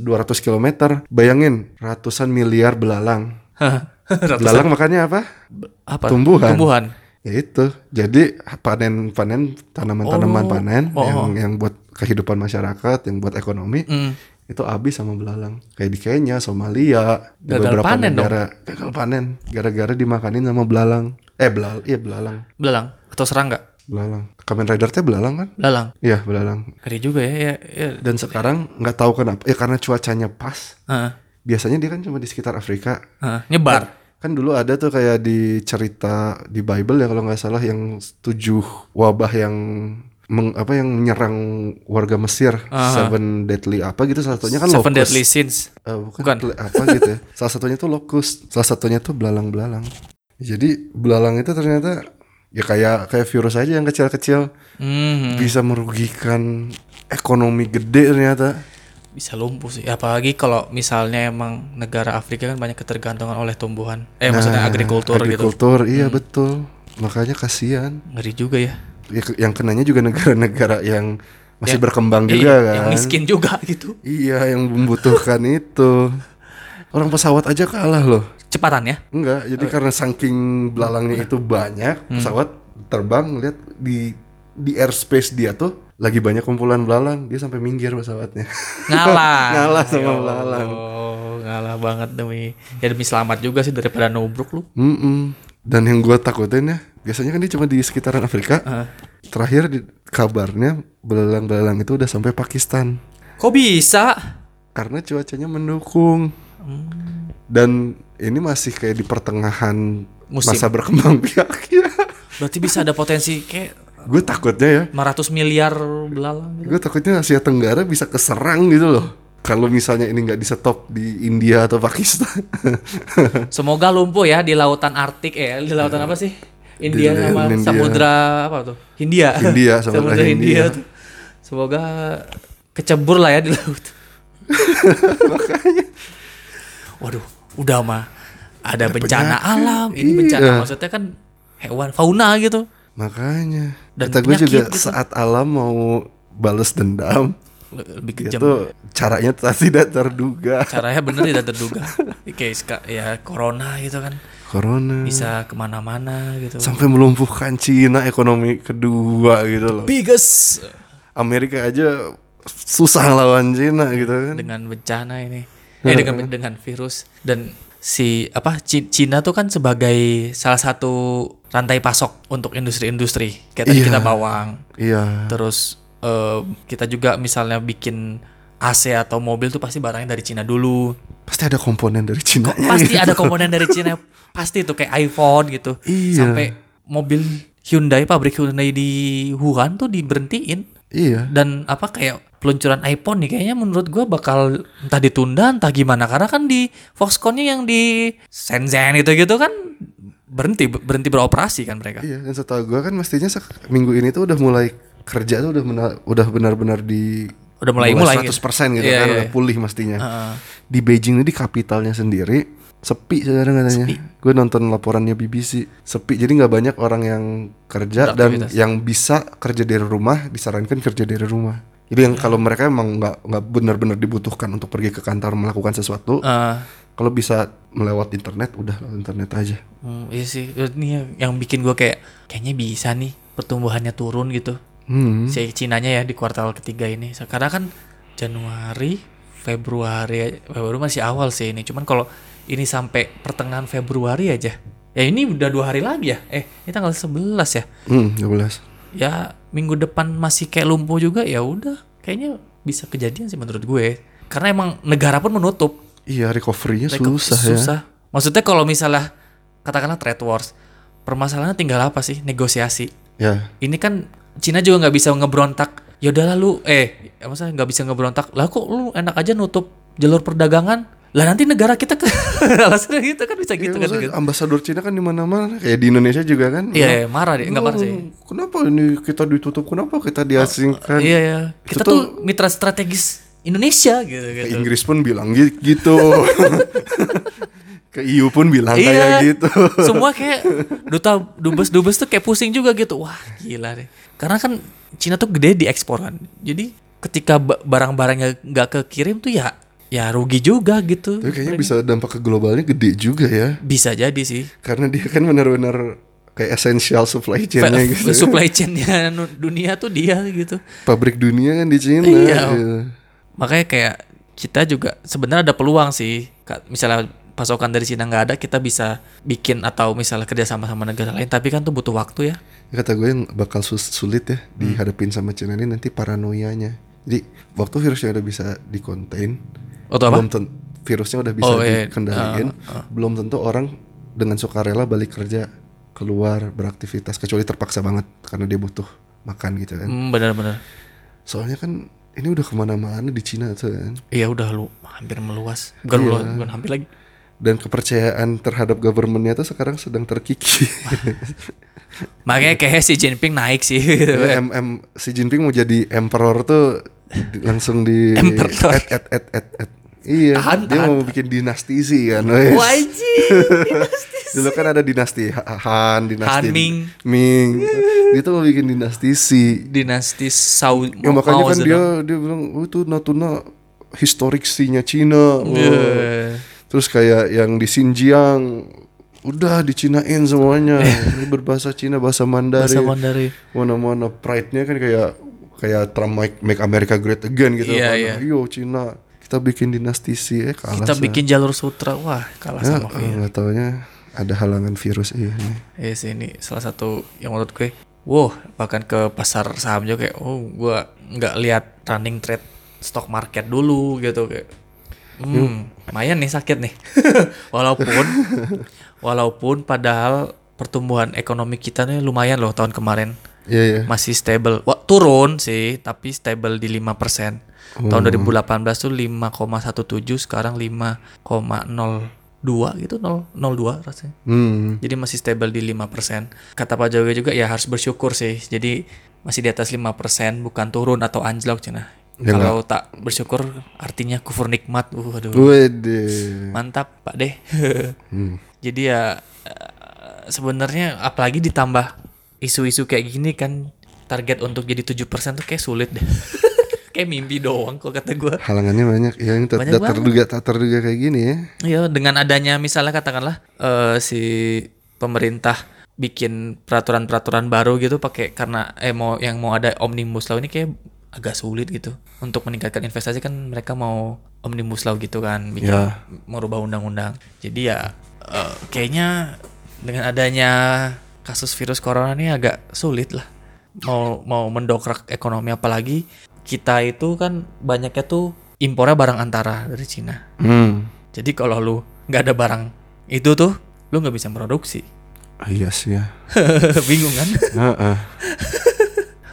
Speaker 2: 200 km. Bayangin ratusan miliar belalang.
Speaker 1: Hah, ratusan-
Speaker 2: Belalang makannya apa?
Speaker 1: apa?
Speaker 2: tumbuhan.
Speaker 1: Tumbuhan.
Speaker 2: Ya itu. Jadi panen-panen tanaman-tanaman
Speaker 1: Oh.
Speaker 2: panen
Speaker 1: Oh.
Speaker 2: yang yang buat kehidupan masyarakat, yang buat ekonomi
Speaker 1: Mm.
Speaker 2: itu habis sama belalang. Kayak di Kenya, Somalia, di
Speaker 1: Gagal panen dong.
Speaker 2: negara gagal panen gara-gara dimakanin sama belalang. Eh belal, iya belalang.
Speaker 1: Belalang atau serangga?
Speaker 2: Belalang. Kamen Rider teh belalang kan?
Speaker 1: Belalang.
Speaker 2: Iya, belalang.
Speaker 1: Ngeri juga ya. ya, ya.
Speaker 2: dan sekarang nggak tahu kenapa ya karena cuacanya pas
Speaker 1: Heeh,
Speaker 2: biasanya dia kan cuma di sekitar Afrika
Speaker 1: heeh. Ah, nyebar.
Speaker 2: kan dulu ada tuh kayak di cerita di Bible ya kalau nggak salah yang tujuh wabah yang meng- apa yang menyerang warga Mesir seven deadly apa gitu salah satunya kan
Speaker 1: Seven
Speaker 2: locust
Speaker 1: Deadly Sins.
Speaker 2: Eh, bukan,
Speaker 1: Bukan.
Speaker 2: tle- apa gitu ya. salah satunya tuh locust salah satunya tuh belalang belalang jadi belalang itu ternyata ya kayak kayak virus aja yang kecil-kecil
Speaker 1: Hmm,
Speaker 2: bisa merugikan ekonomi gede ternyata
Speaker 1: bisa lumpuh sih. Apalagi kalau misalnya emang negara Afrika kan banyak ketergantungan oleh tumbuhan. Eh maksudnya agrikultur gitu.
Speaker 2: Nah, agrikultur iya betul makanya kasihan
Speaker 1: Ngeri juga ya.
Speaker 2: Ya, ke- yang kenanya juga negara-negara yang
Speaker 1: Ya,
Speaker 2: masih berkembang
Speaker 1: Iya,
Speaker 2: juga kan
Speaker 1: Yang miskin juga gitu.
Speaker 2: iya yang membutuhkan itu orang pesawat aja kalah loh
Speaker 1: Cepatan ya.
Speaker 2: enggak jadi karena saking
Speaker 1: Hmm.
Speaker 2: belalangnya itu banyak pesawat terbang lihat di di airspace dia tuh lagi banyak kumpulan belalang dia sampai minggir pesawatnya
Speaker 1: ngalah
Speaker 2: Ngalah sama
Speaker 1: Ya
Speaker 2: belalang.
Speaker 1: Allah, ngalah banget demi ya demi selamat juga sih daripada nubruk lu
Speaker 2: Mm-mm. Dan yang gue takutin ya, biasanya kan dia cuma di sekitaran Afrika. Terakhir di, kabarnya belalang-belalang itu udah sampai Pakistan
Speaker 1: kok bisa
Speaker 2: karena cuacanya mendukung. Dan ini masih kayak di pertengahan
Speaker 1: Musim.
Speaker 2: masa berkembang biaknya.
Speaker 1: berarti bisa ada potensi kayak
Speaker 2: gue takutnya ya,
Speaker 1: 500 miliar belalang gitu
Speaker 2: gue takutnya Asia Tenggara bisa keserang gitu loh. Kalau misalnya ini nggak di stop di India atau Pakistan.
Speaker 1: semoga lumpuh ya di ya. lautan Artik eh di lautan apa sih India
Speaker 2: Di-
Speaker 1: sama
Speaker 2: India.
Speaker 1: Samudra apa tuh? Hindia.
Speaker 2: Hindia, Samudra
Speaker 1: Samudra Hindia.
Speaker 2: Hindia.
Speaker 1: tuh. Semoga kecebur lah ya di laut. Waduh, udah mah ada bencana alam, ini bencana
Speaker 2: Iya.
Speaker 1: maksudnya kan hewan fauna gitu.
Speaker 2: Makanya.
Speaker 1: Dan
Speaker 2: Kata gue juga
Speaker 1: penyakit gitu.
Speaker 2: saat alam mau bales dendam
Speaker 1: Lebih kejam.
Speaker 2: itu caranya tak tidak terduga.
Speaker 1: Caranya bener tidak terduga. Kayak ska- ya corona gitu kan
Speaker 2: Corona
Speaker 1: bisa kemana-mana gitu.
Speaker 2: sampai melumpuhkan Cina ekonomi kedua gitu loh.
Speaker 1: biggest
Speaker 2: Amerika aja susah lawan Cina gitu kan.
Speaker 1: dengan bencana ini eh
Speaker 2: Hmm.
Speaker 1: dengan dengan virus dan si apa Ci- Cina tuh kan sebagai salah satu rantai pasok untuk industri-industri kayak tadi
Speaker 2: Iya.
Speaker 1: kita bawang
Speaker 2: Iya.
Speaker 1: terus eh, kita juga misalnya bikin AC atau mobil tuh pasti barangnya dari Cina dulu
Speaker 2: Pasti ada komponen dari gitu. Cina.
Speaker 1: pasti ya? ada komponen dari Cina pasti tuh kayak iPhone gitu
Speaker 2: Iya.
Speaker 1: sampai mobil Hyundai pabrik Hyundai di Wuhan tuh diberhentiin
Speaker 2: Iya.
Speaker 1: dan apa kayak peluncuran iPhone nih kayaknya menurut gua bakal entah ditunda entah gimana karena kan di Foxconn-nya yang di Shenzhen itu gitu kan berhenti berhenti beroperasi kan mereka
Speaker 2: Iya, dan setahu gua kan mestinya sek- minggu ini tuh udah mulai kerja tuh udah mena- udah benar-benar di
Speaker 1: Udah mulai- mulai gitu.
Speaker 2: 100% gitu
Speaker 1: Iya,
Speaker 2: kan
Speaker 1: iya,
Speaker 2: udah
Speaker 1: iya.
Speaker 2: pulih mestinya.
Speaker 1: Heeh.
Speaker 2: Di Beijing ini di kapitalnya sendiri sepi sekarang katanya. Gue nonton laporannya BBC sepi jadi nggak banyak orang yang kerja dan
Speaker 1: Beraktivitas.
Speaker 2: yang bisa kerja dari rumah disarankan kerja dari rumah. Jadi
Speaker 1: Iya.
Speaker 2: yang kalau mereka emang nggak nggak benar-benar dibutuhkan untuk pergi ke kantor melakukan sesuatu,
Speaker 1: Eh,
Speaker 2: kalau bisa melewat internet udah lewat internet aja.
Speaker 1: hmm, iya sih ini yang bikin gua kayak kayaknya bisa nih pertumbuhannya turun gitu
Speaker 2: Hmm.
Speaker 1: si Cinanya ya di kuartal ketiga ini karena kan Januari Februari eh, Februari masih awal sih ini cuman kalau ini sampai pertengahan Februari aja ya ini udah dua hari lagi ya eh ini tanggal 11 ya
Speaker 2: Hmm, 12.
Speaker 1: ya minggu depan masih kayak lumpuh juga ya udah kayaknya bisa kejadian sih menurut gue karena emang negara pun menutup
Speaker 2: Iya, recovery-nya
Speaker 1: Mereka
Speaker 2: susah, ya.
Speaker 1: susah. maksudnya kalau misalnya katakanlah trade wars permasalahannya tinggal apa sih negosiasi
Speaker 2: Ya,
Speaker 1: ini kan Cina juga nggak bisa ngebrontak ya udahlah lu eh masa nggak bisa ngebrontak lah kok lu enak aja nutup jalur perdagangan lah nanti negara kita ke alasannya gitu kan bisa gitu
Speaker 2: Iya,
Speaker 1: kan
Speaker 2: maksudnya
Speaker 1: gitu.
Speaker 2: ambasador Cina kan di mana-mana kayak di Indonesia juga kan
Speaker 1: iya iya, marah deh nggak marah sih
Speaker 2: Oh. Hmm. kenapa ini kita ditutup kenapa kita diasingkan
Speaker 1: iya iya
Speaker 2: Itu
Speaker 1: kita
Speaker 2: tuh- Iya,
Speaker 1: tuh mitra strategis Indonesia gitu
Speaker 2: Ke
Speaker 1: gitu
Speaker 2: Inggris pun bilang gi- gitu ke EU pun bilang kayak
Speaker 1: Iya.
Speaker 2: gitu
Speaker 1: Semua kayak duta dubes dubes tuh kayak pusing juga gitu. Wah gila deh. Karena kan Cina tuh gede di ekspor kan. Jadi ketika ba- barang-barangnya nggak kekirim tuh ya ya rugi juga gitu.
Speaker 2: tapi kayaknya bisa dampak ke globalnya gede juga ya
Speaker 1: Bisa jadi sih.
Speaker 2: karena dia kan benar-benar kayak essential supply chain-nya
Speaker 1: Fa-
Speaker 2: gitu
Speaker 1: Supply chain-nya nu- dunia tuh dia gitu.
Speaker 2: pabrik dunia kan di Cina
Speaker 1: Iya.
Speaker 2: gitu.
Speaker 1: Makanya kayak kita juga sebenarnya ada peluang sih. Ka- Misalnya pasokan dari Cina nggak ada, kita bisa bikin atau misalnya kerja sama sama negara lain. Tapi kan tuh butuh waktu ya.
Speaker 2: kata gue yang bakal sus- sulit ya
Speaker 1: Hmm.
Speaker 2: dihadapin sama Cina ini nanti paranoianya jadi waktu virusnya udah bisa dikontain
Speaker 1: Atau apa?
Speaker 2: belum ten- virusnya udah bisa
Speaker 1: Oh, iya.
Speaker 2: dikendaliin belum tentu orang dengan sukarela balik kerja keluar beraktivitas kecuali terpaksa banget karena dia butuh makan gitu kan
Speaker 1: Hmm, Benar-benar.
Speaker 2: soalnya kan ini udah kemana-mana di Cina tuh kan
Speaker 1: Iya udah lu hampir meluas.
Speaker 2: Iya.
Speaker 1: Bukan meluas, bukan hampir lagi.
Speaker 2: dan kepercayaan terhadap governmentnya tuh sekarang sedang terkikis
Speaker 1: Makanya
Speaker 2: Iya.
Speaker 1: kayak si Jinping naik sih. iya.
Speaker 2: Ya, M M si Jinping mau jadi emperor tuh di- langsung di
Speaker 1: Emperor.
Speaker 2: at at at at at. Iya,
Speaker 1: Tahan,
Speaker 2: dia
Speaker 1: tahan,
Speaker 2: mau bikin dinasti sih kan. wes. Dulu kan ada dinasti Ha- Han, dinasti
Speaker 1: Han Ming.
Speaker 2: Ming. Dia tuh mau bikin dinasti Si.
Speaker 1: Dinasti Sau
Speaker 2: Ya makanya
Speaker 1: Mao
Speaker 2: kan dia
Speaker 1: Zedong.
Speaker 2: dia bilang, "Oh itu Natuna historiksinya Cina." Wah.
Speaker 1: Eh,
Speaker 2: Terus kayak yang di Xinjiang udah dicinain semuanya. Ini berbahasa Cina, bahasa Mandarin.
Speaker 1: Bahasa Mandarin.
Speaker 2: Mana-mana pride-nya kan kayak kayak Trump make, make America great again gitu.
Speaker 1: Iya,
Speaker 2: Mana,
Speaker 1: iya.
Speaker 2: Yo Cina, kita bikin dinasti Si eh kalah.
Speaker 1: Kita
Speaker 2: sa.
Speaker 1: bikin jalur sutra. Wah, kalah
Speaker 2: Ya,
Speaker 1: sama
Speaker 2: eh,
Speaker 1: Korea.
Speaker 2: nggak taunya ada halangan virus iya nih.
Speaker 1: Iya sih ini salah satu yang menurut gue. Wow, bahkan ke pasar saham juga kayak oh gua nggak lihat running trade stock market dulu gitu kayak. Hmm, lumayan nih sakit nih. walaupun walaupun padahal pertumbuhan ekonomi kita nih lumayan loh tahun kemarin.
Speaker 2: Iya iya.
Speaker 1: masih stable. Wah, turun sih, tapi stable di 5%. Tahun 2018 tuh 5,17, sekarang 5,02 2 gitu 0 02 rasanya.
Speaker 2: Hmm.
Speaker 1: Jadi masih stable di 5%. Kata Pak Jokowi juga ya harus bersyukur sih. Jadi masih di atas 5% bukan turun atau anjlok cina.
Speaker 2: Ya
Speaker 1: Kalau tak bersyukur artinya kufur nikmat. Uh, aduh.
Speaker 2: Wede.
Speaker 1: Mantap, Pak Deh.
Speaker 2: Hmm.
Speaker 1: Jadi ya eh, sebenarnya apalagi ditambah isu-isu kayak gini kan target untuk jadi 7% tuh kayak sulit deh. kayak mimpi doang kalau kata gua.
Speaker 2: Halangannya banyak. Ya ini tak
Speaker 1: Banyak
Speaker 2: tak terduga tak terduga kayak gini ya.
Speaker 1: Iya, dengan adanya misalnya katakanlah eh, si pemerintah bikin peraturan-peraturan baru gitu pakai karena eh mau yang mau ada omnibus law ini kayak agak sulit gitu untuk meningkatkan investasi kan mereka mau omnibus law gitu kan bikin
Speaker 2: Ya.
Speaker 1: merubah undang-undang. Jadi ya eh, kayaknya dengan adanya kasus virus corona ini agak sulit lah mau mau mendokrak ekonomi apalagi kita itu kan banyaknya tuh impornya barang antara dari Cina.
Speaker 2: Hmm.
Speaker 1: Jadi kalau lu nggak ada barang itu tuh, lu nggak bisa produksi.
Speaker 2: Ah, Iya sih ya.
Speaker 1: Bingung kan?
Speaker 2: Heeh.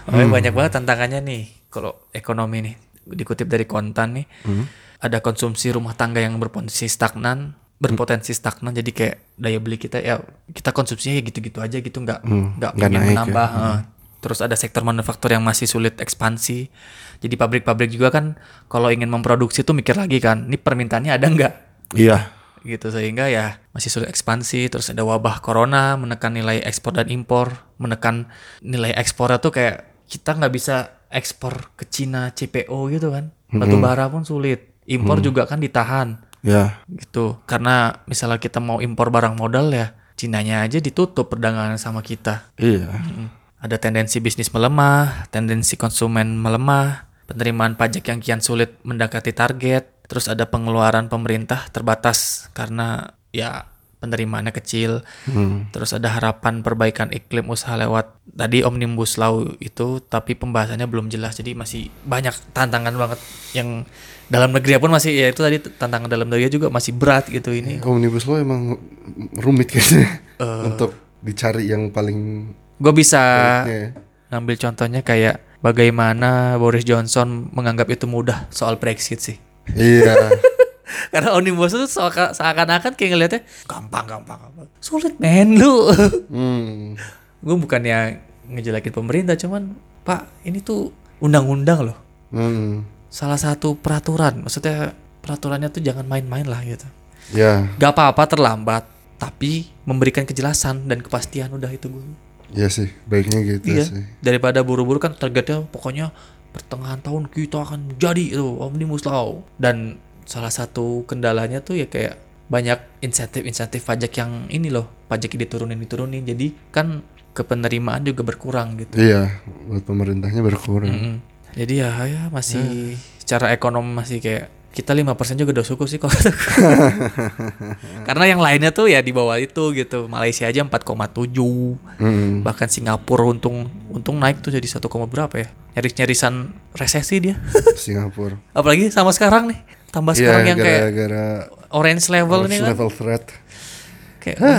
Speaker 1: Makanya
Speaker 2: Hmm.
Speaker 1: banyak banget tantangannya nih kalau ekonomi nih. Dikutip dari kontan nih,
Speaker 2: Hmm.
Speaker 1: ada konsumsi rumah tangga yang berpotensi stagnan, berpotensi stagnan. Jadi kayak daya beli kita ya kita konsumsinya ya gitu-gitu aja gitu nggak
Speaker 2: Hmm,
Speaker 1: nggak
Speaker 2: nggak
Speaker 1: pengen
Speaker 2: naik ya.
Speaker 1: menambah. eh. Terus ada sektor manufaktur yang masih sulit ekspansi. Jadi pabrik-pabrik juga kan kalau ingin memproduksi tuh mikir lagi kan, ini permintaannya ada nggak?
Speaker 2: Iya.
Speaker 1: gitu sehingga ya masih sulit ekspansi terus ada wabah corona menekan nilai ekspor dan impor menekan nilai ekspor tuh kayak kita nggak bisa ekspor ke Cina CPO gitu kan batu bara pun sulit impor juga kan ditahan
Speaker 2: Ya.
Speaker 1: gitu karena misalnya kita mau impor barang modal ya Cinanya aja ditutup perdagangan sama kita
Speaker 2: Iya.
Speaker 1: Mm. ada tendensi bisnis melemah tendensi konsumen melemah penerimaan pajak yang kian sulit mendekati target terus ada pengeluaran pemerintah terbatas karena ya penerimaannya kecil
Speaker 2: Hmm.
Speaker 1: terus ada harapan perbaikan iklim usaha lewat tadi omnibus law itu tapi pembahasannya belum jelas jadi masih banyak tantangan banget yang dalam negeri pun masih ya itu tadi tantangan dalam negeri juga masih berat gitu ini
Speaker 2: Omnibus Law emang rumit kayaknya
Speaker 1: Eh.
Speaker 2: untuk dicari yang paling
Speaker 1: gue bisa
Speaker 2: baiknya ya.
Speaker 1: ngambil contohnya kayak bagaimana Boris Johnson menganggap itu mudah soal Brexit sih.
Speaker 2: Iya.
Speaker 1: Karena Omnibus itu seaka- seakan-akan kayak ngeliatnya gampang, gampang, gampang. Sulit men lu.
Speaker 2: Hmm.
Speaker 1: Gue bukannya ngejelekin pemerintah, cuman Pak ini tuh undang-undang loh.
Speaker 2: Hmm.
Speaker 1: Salah satu peraturan, maksudnya peraturannya tuh jangan main-main lah gitu.
Speaker 2: Ya,
Speaker 1: Gak apa-apa terlambat, tapi memberikan kejelasan dan kepastian udah itu gue.
Speaker 2: iya sih. Baiknya gitu
Speaker 1: Iya.
Speaker 2: sih.
Speaker 1: Daripada buru-buru kan targetnya pokoknya pertengahan tahun kita akan jadi itu omnibus law. Dan salah satu kendalanya tuh ya kayak banyak insentif-insentif pajak yang ini loh, pajak diturunin diturunin. Jadi kan kepenerimaan juga berkurang gitu.
Speaker 2: Iya, buat pemerintahnya berkurang.
Speaker 1: Mm-mm. Jadi ya, ya masih secara ekonomi masih kayak kita 5% juga udah cukup sih kok. Karena yang lainnya tuh ya di bawah itu gitu. Malaysia aja 4,7
Speaker 2: Mm-mm.
Speaker 1: bahkan Singapura untung untung naik tuh jadi 1, koma berapa ya nyaris nyarisan resesi dia
Speaker 2: Singapura.
Speaker 1: apalagi sama sekarang nih tambah
Speaker 2: Iya,
Speaker 1: Oh, sekarang yang kayak
Speaker 2: gara-gara
Speaker 1: orange level
Speaker 2: first
Speaker 1: nih kan
Speaker 2: level threat.
Speaker 1: kayak wah.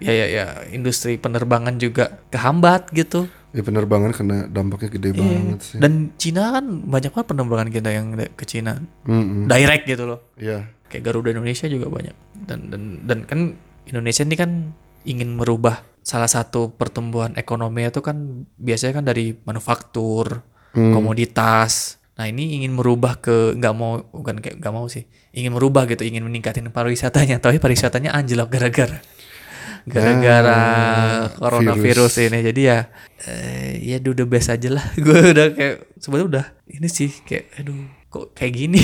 Speaker 1: ya ya ya industri penerbangan juga kehambat gitu
Speaker 2: Ya penerbangan kena dampaknya gede
Speaker 1: Iya.
Speaker 2: banget sih.
Speaker 1: dan Cina kan banyak banget penerbangan kita yang da- ke Cina
Speaker 2: Mm-mm.
Speaker 1: direct gitu loh
Speaker 2: Iya.
Speaker 1: kayak Garuda Indonesia juga banyak dan dan dan kan Indonesia ini kan ingin merubah salah satu pertumbuhan ekonomi itu kan biasanya kan dari manufaktur komoditas nah ini ingin merubah ke nggak mau bukan kayak nggak mau sih ingin merubah gitu ingin meningkatin pariwisatanya tapi pariwisatanya anjlok gara-gara gara-gara coronavirus ini jadi ya eh, ya do the best aja lah gue udah kayak sebenarnya udah ini sih kayak aduh kok kayak gini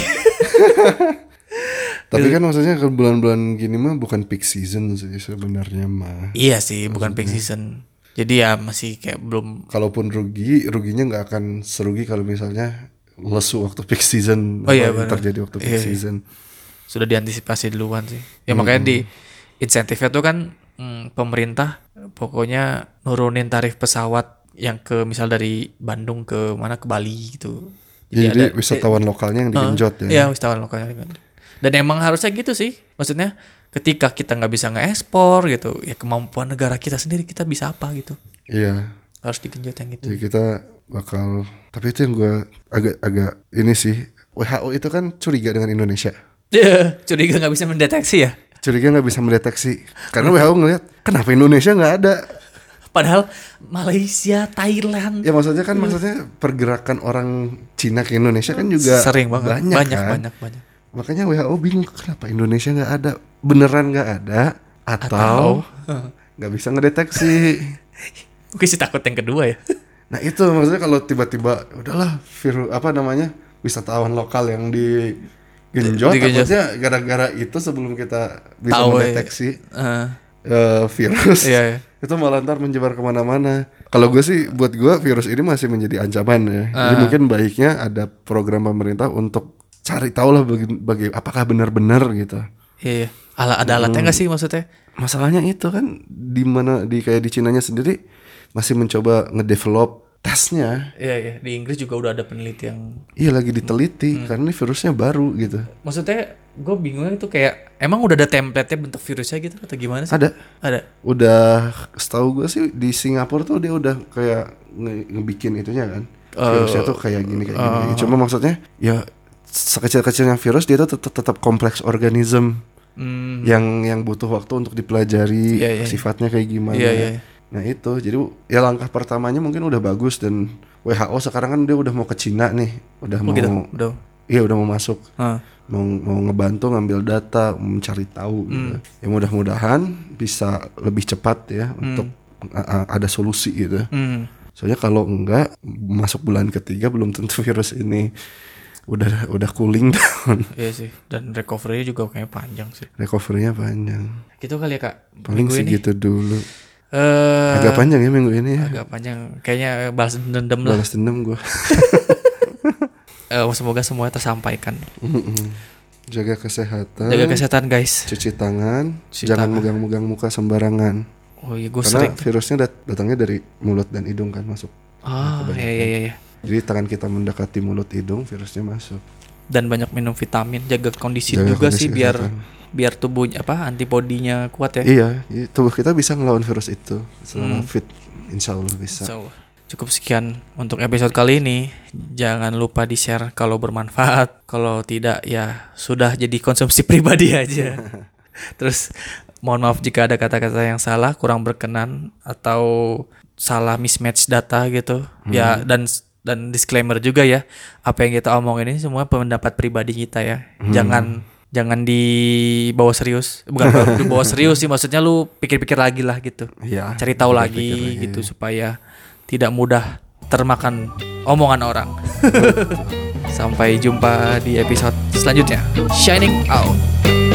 Speaker 2: Tapi kan maksudnya ke bulan-bulan gini mah bukan peak season sih sebenarnya mah.
Speaker 1: Iya sih, bukan peak season. Jadi ya masih kayak belum
Speaker 2: Kalaupun rugi, ruginya nggak akan serugi kalau misalnya lesu waktu peak season.
Speaker 1: Oh iya,
Speaker 2: Apa yang
Speaker 1: benar.
Speaker 2: terjadi waktu peak
Speaker 1: Iya, iya.
Speaker 2: season.
Speaker 1: sudah diantisipasi duluan sih. Ya makanya di insentifnya tuh kan mm, pemerintah pokoknya nurunin tarif pesawat yang ke misal dari Bandung ke mana ke Bali gitu.
Speaker 2: Jadi,
Speaker 1: ada-
Speaker 2: wisatawan lokalnya yang
Speaker 1: eh,
Speaker 2: digenjot ya.
Speaker 1: Iya, wisatawan lokalnya. digenjot. Dan emang harusnya gitu sih. Maksudnya ketika kita nggak bisa ngeekspor gitu, ya kemampuan negara kita sendiri kita bisa apa gitu.
Speaker 2: Iya.
Speaker 1: Harus digenjot yang gitu.
Speaker 2: Jadi kita bakal tapi itu yang gue agak-agak ini sih WHO itu kan curiga dengan Indonesia.
Speaker 1: Iya, curiga nggak bisa mendeteksi ya.
Speaker 2: curiga nggak bisa mendeteksi karena WHO ngelihat kenapa Indonesia nggak ada
Speaker 1: Padahal Malaysia, Thailand.
Speaker 2: ya maksudnya kan maksudnya pergerakan orang Cina ke Indonesia kan juga
Speaker 1: sering banget.
Speaker 2: banyak
Speaker 1: banyak,
Speaker 2: kan?
Speaker 1: banyak, banyak.
Speaker 2: makanya WHO bingung kenapa Indonesia nggak ada beneran nggak ada atau nggak bisa ngedeteksi
Speaker 1: Mungkin sih takut yang kedua ya.
Speaker 2: nah itu maksudnya kalau tiba-tiba udahlah virus apa namanya wisatawan lokal yang di genjot
Speaker 1: Digenjot.
Speaker 2: takutnya gara-gara itu sebelum kita bisa
Speaker 1: Tahu, ya.
Speaker 2: mendeteksi
Speaker 1: Eh,
Speaker 2: eh, virus
Speaker 1: Iya, iya.
Speaker 2: itu malah ntar menyebar kemana-mana. Kalau gue sih, buat gue virus ini masih menjadi ancaman ya. Jadi
Speaker 1: Ah.
Speaker 2: mungkin baiknya ada program pemerintah untuk cari tahu lah bagi, bagi- apakah benar-benar gitu.
Speaker 1: iya, iya. Ala ada alatnya nggak sih maksudnya?
Speaker 2: Masalahnya itu kan di mana di kayak di Cinanya sendiri masih mencoba ngedevelop tesnya.
Speaker 1: Iya, iya. Di Inggris juga udah ada peneliti yang
Speaker 2: Iya lagi diteliti
Speaker 1: Hmm.
Speaker 2: karena ini virusnya baru gitu.
Speaker 1: maksudnya gue bingungnya itu kayak emang udah ada template-nya bentuk virusnya gitu atau gimana sih?
Speaker 2: Ada
Speaker 1: Ada.
Speaker 2: udah setahu gue sih di Singapura tuh dia udah kayak nge- ngebikin itunya kan
Speaker 1: Eh,
Speaker 2: virusnya tuh kayak gini kayak gini, gini. cuma maksudnya ya sekecil-kecilnya virus dia tuh tetap, tetap kompleks organisme
Speaker 1: Hmm,
Speaker 2: yang yang butuh waktu untuk dipelajari
Speaker 1: Iya, iya, iya.
Speaker 2: sifatnya kayak gimana
Speaker 1: Iya, iya, iya.
Speaker 2: nah itu jadi ya langkah pertamanya mungkin udah bagus dan WHO sekarang kan dia udah mau ke Cina nih udah
Speaker 1: oh
Speaker 2: mau
Speaker 1: gitu. Udah. Ah.
Speaker 2: iya udah mau masuk
Speaker 1: Hah.
Speaker 2: mau mau ngebantu ngambil data mencari tahu gitu.
Speaker 1: Hmm.
Speaker 2: ya mudah-mudahan bisa lebih cepat ya untuk a- a- ada solusi gitu
Speaker 1: Hmm.
Speaker 2: soalnya kalau enggak masuk bulan ketiga belum tentu virus ini udah udah cooling down
Speaker 1: Iya sih. Dan recovery-nya juga kayaknya panjang sih.
Speaker 2: recovery-nya panjang
Speaker 1: Gitu kali ya, Kak.
Speaker 2: paling
Speaker 1: Minggu ini.
Speaker 2: segitu dulu
Speaker 1: Eh,
Speaker 2: agak panjang ya minggu ini ya
Speaker 1: agak panjang. Kayaknya balas dendam lah.
Speaker 2: balas dendam gua
Speaker 1: Eh, semoga semuanya tersampaikan.
Speaker 2: Mm-mm. jaga kesehatan
Speaker 1: Jaga kesehatan, guys.
Speaker 2: cuci tangan
Speaker 1: Cuci
Speaker 2: jangan
Speaker 1: tangan.
Speaker 2: megang-megang muka sembarangan
Speaker 1: Oh iya, gue
Speaker 2: karena
Speaker 1: sering.
Speaker 2: virusnya dat- datangnya dari mulut dan hidung kan masuk
Speaker 1: Ah, iya iya iya.
Speaker 2: Jadi tangan kita mendekati mulut hidung virusnya masuk.
Speaker 1: Dan banyak minum vitamin, jaga kondisi
Speaker 2: Jaga
Speaker 1: juga
Speaker 2: kondisi
Speaker 1: sih biar
Speaker 2: kesehatan.
Speaker 1: biar tubuhnya apa antibodinya kuat ya.
Speaker 2: Iya, jadi tubuh kita bisa ngelawan virus itu
Speaker 1: Hmm.
Speaker 2: selama fit. Insya Allah bisa.
Speaker 1: So, cukup sekian untuk episode kali ini. Jangan lupa di-share kalau bermanfaat. Kalau tidak ya sudah jadi konsumsi pribadi aja. Terus mohon maaf jika ada kata-kata yang salah, kurang berkenan atau salah mismatch data gitu. Ya dan dan disclaimer juga ya, apa yang kita omongin ini semua pendapat pribadi kita ya. Jangan jangan dibawa serius. Bukan dibawa serius sih maksudnya lu pikir-pikir lagi lah gitu
Speaker 2: Iya.
Speaker 1: cari tahu
Speaker 2: Pikir-pikir
Speaker 1: lagi gitu supaya tidak mudah termakan omongan orang. Sampai jumpa di episode selanjutnya. Shining out.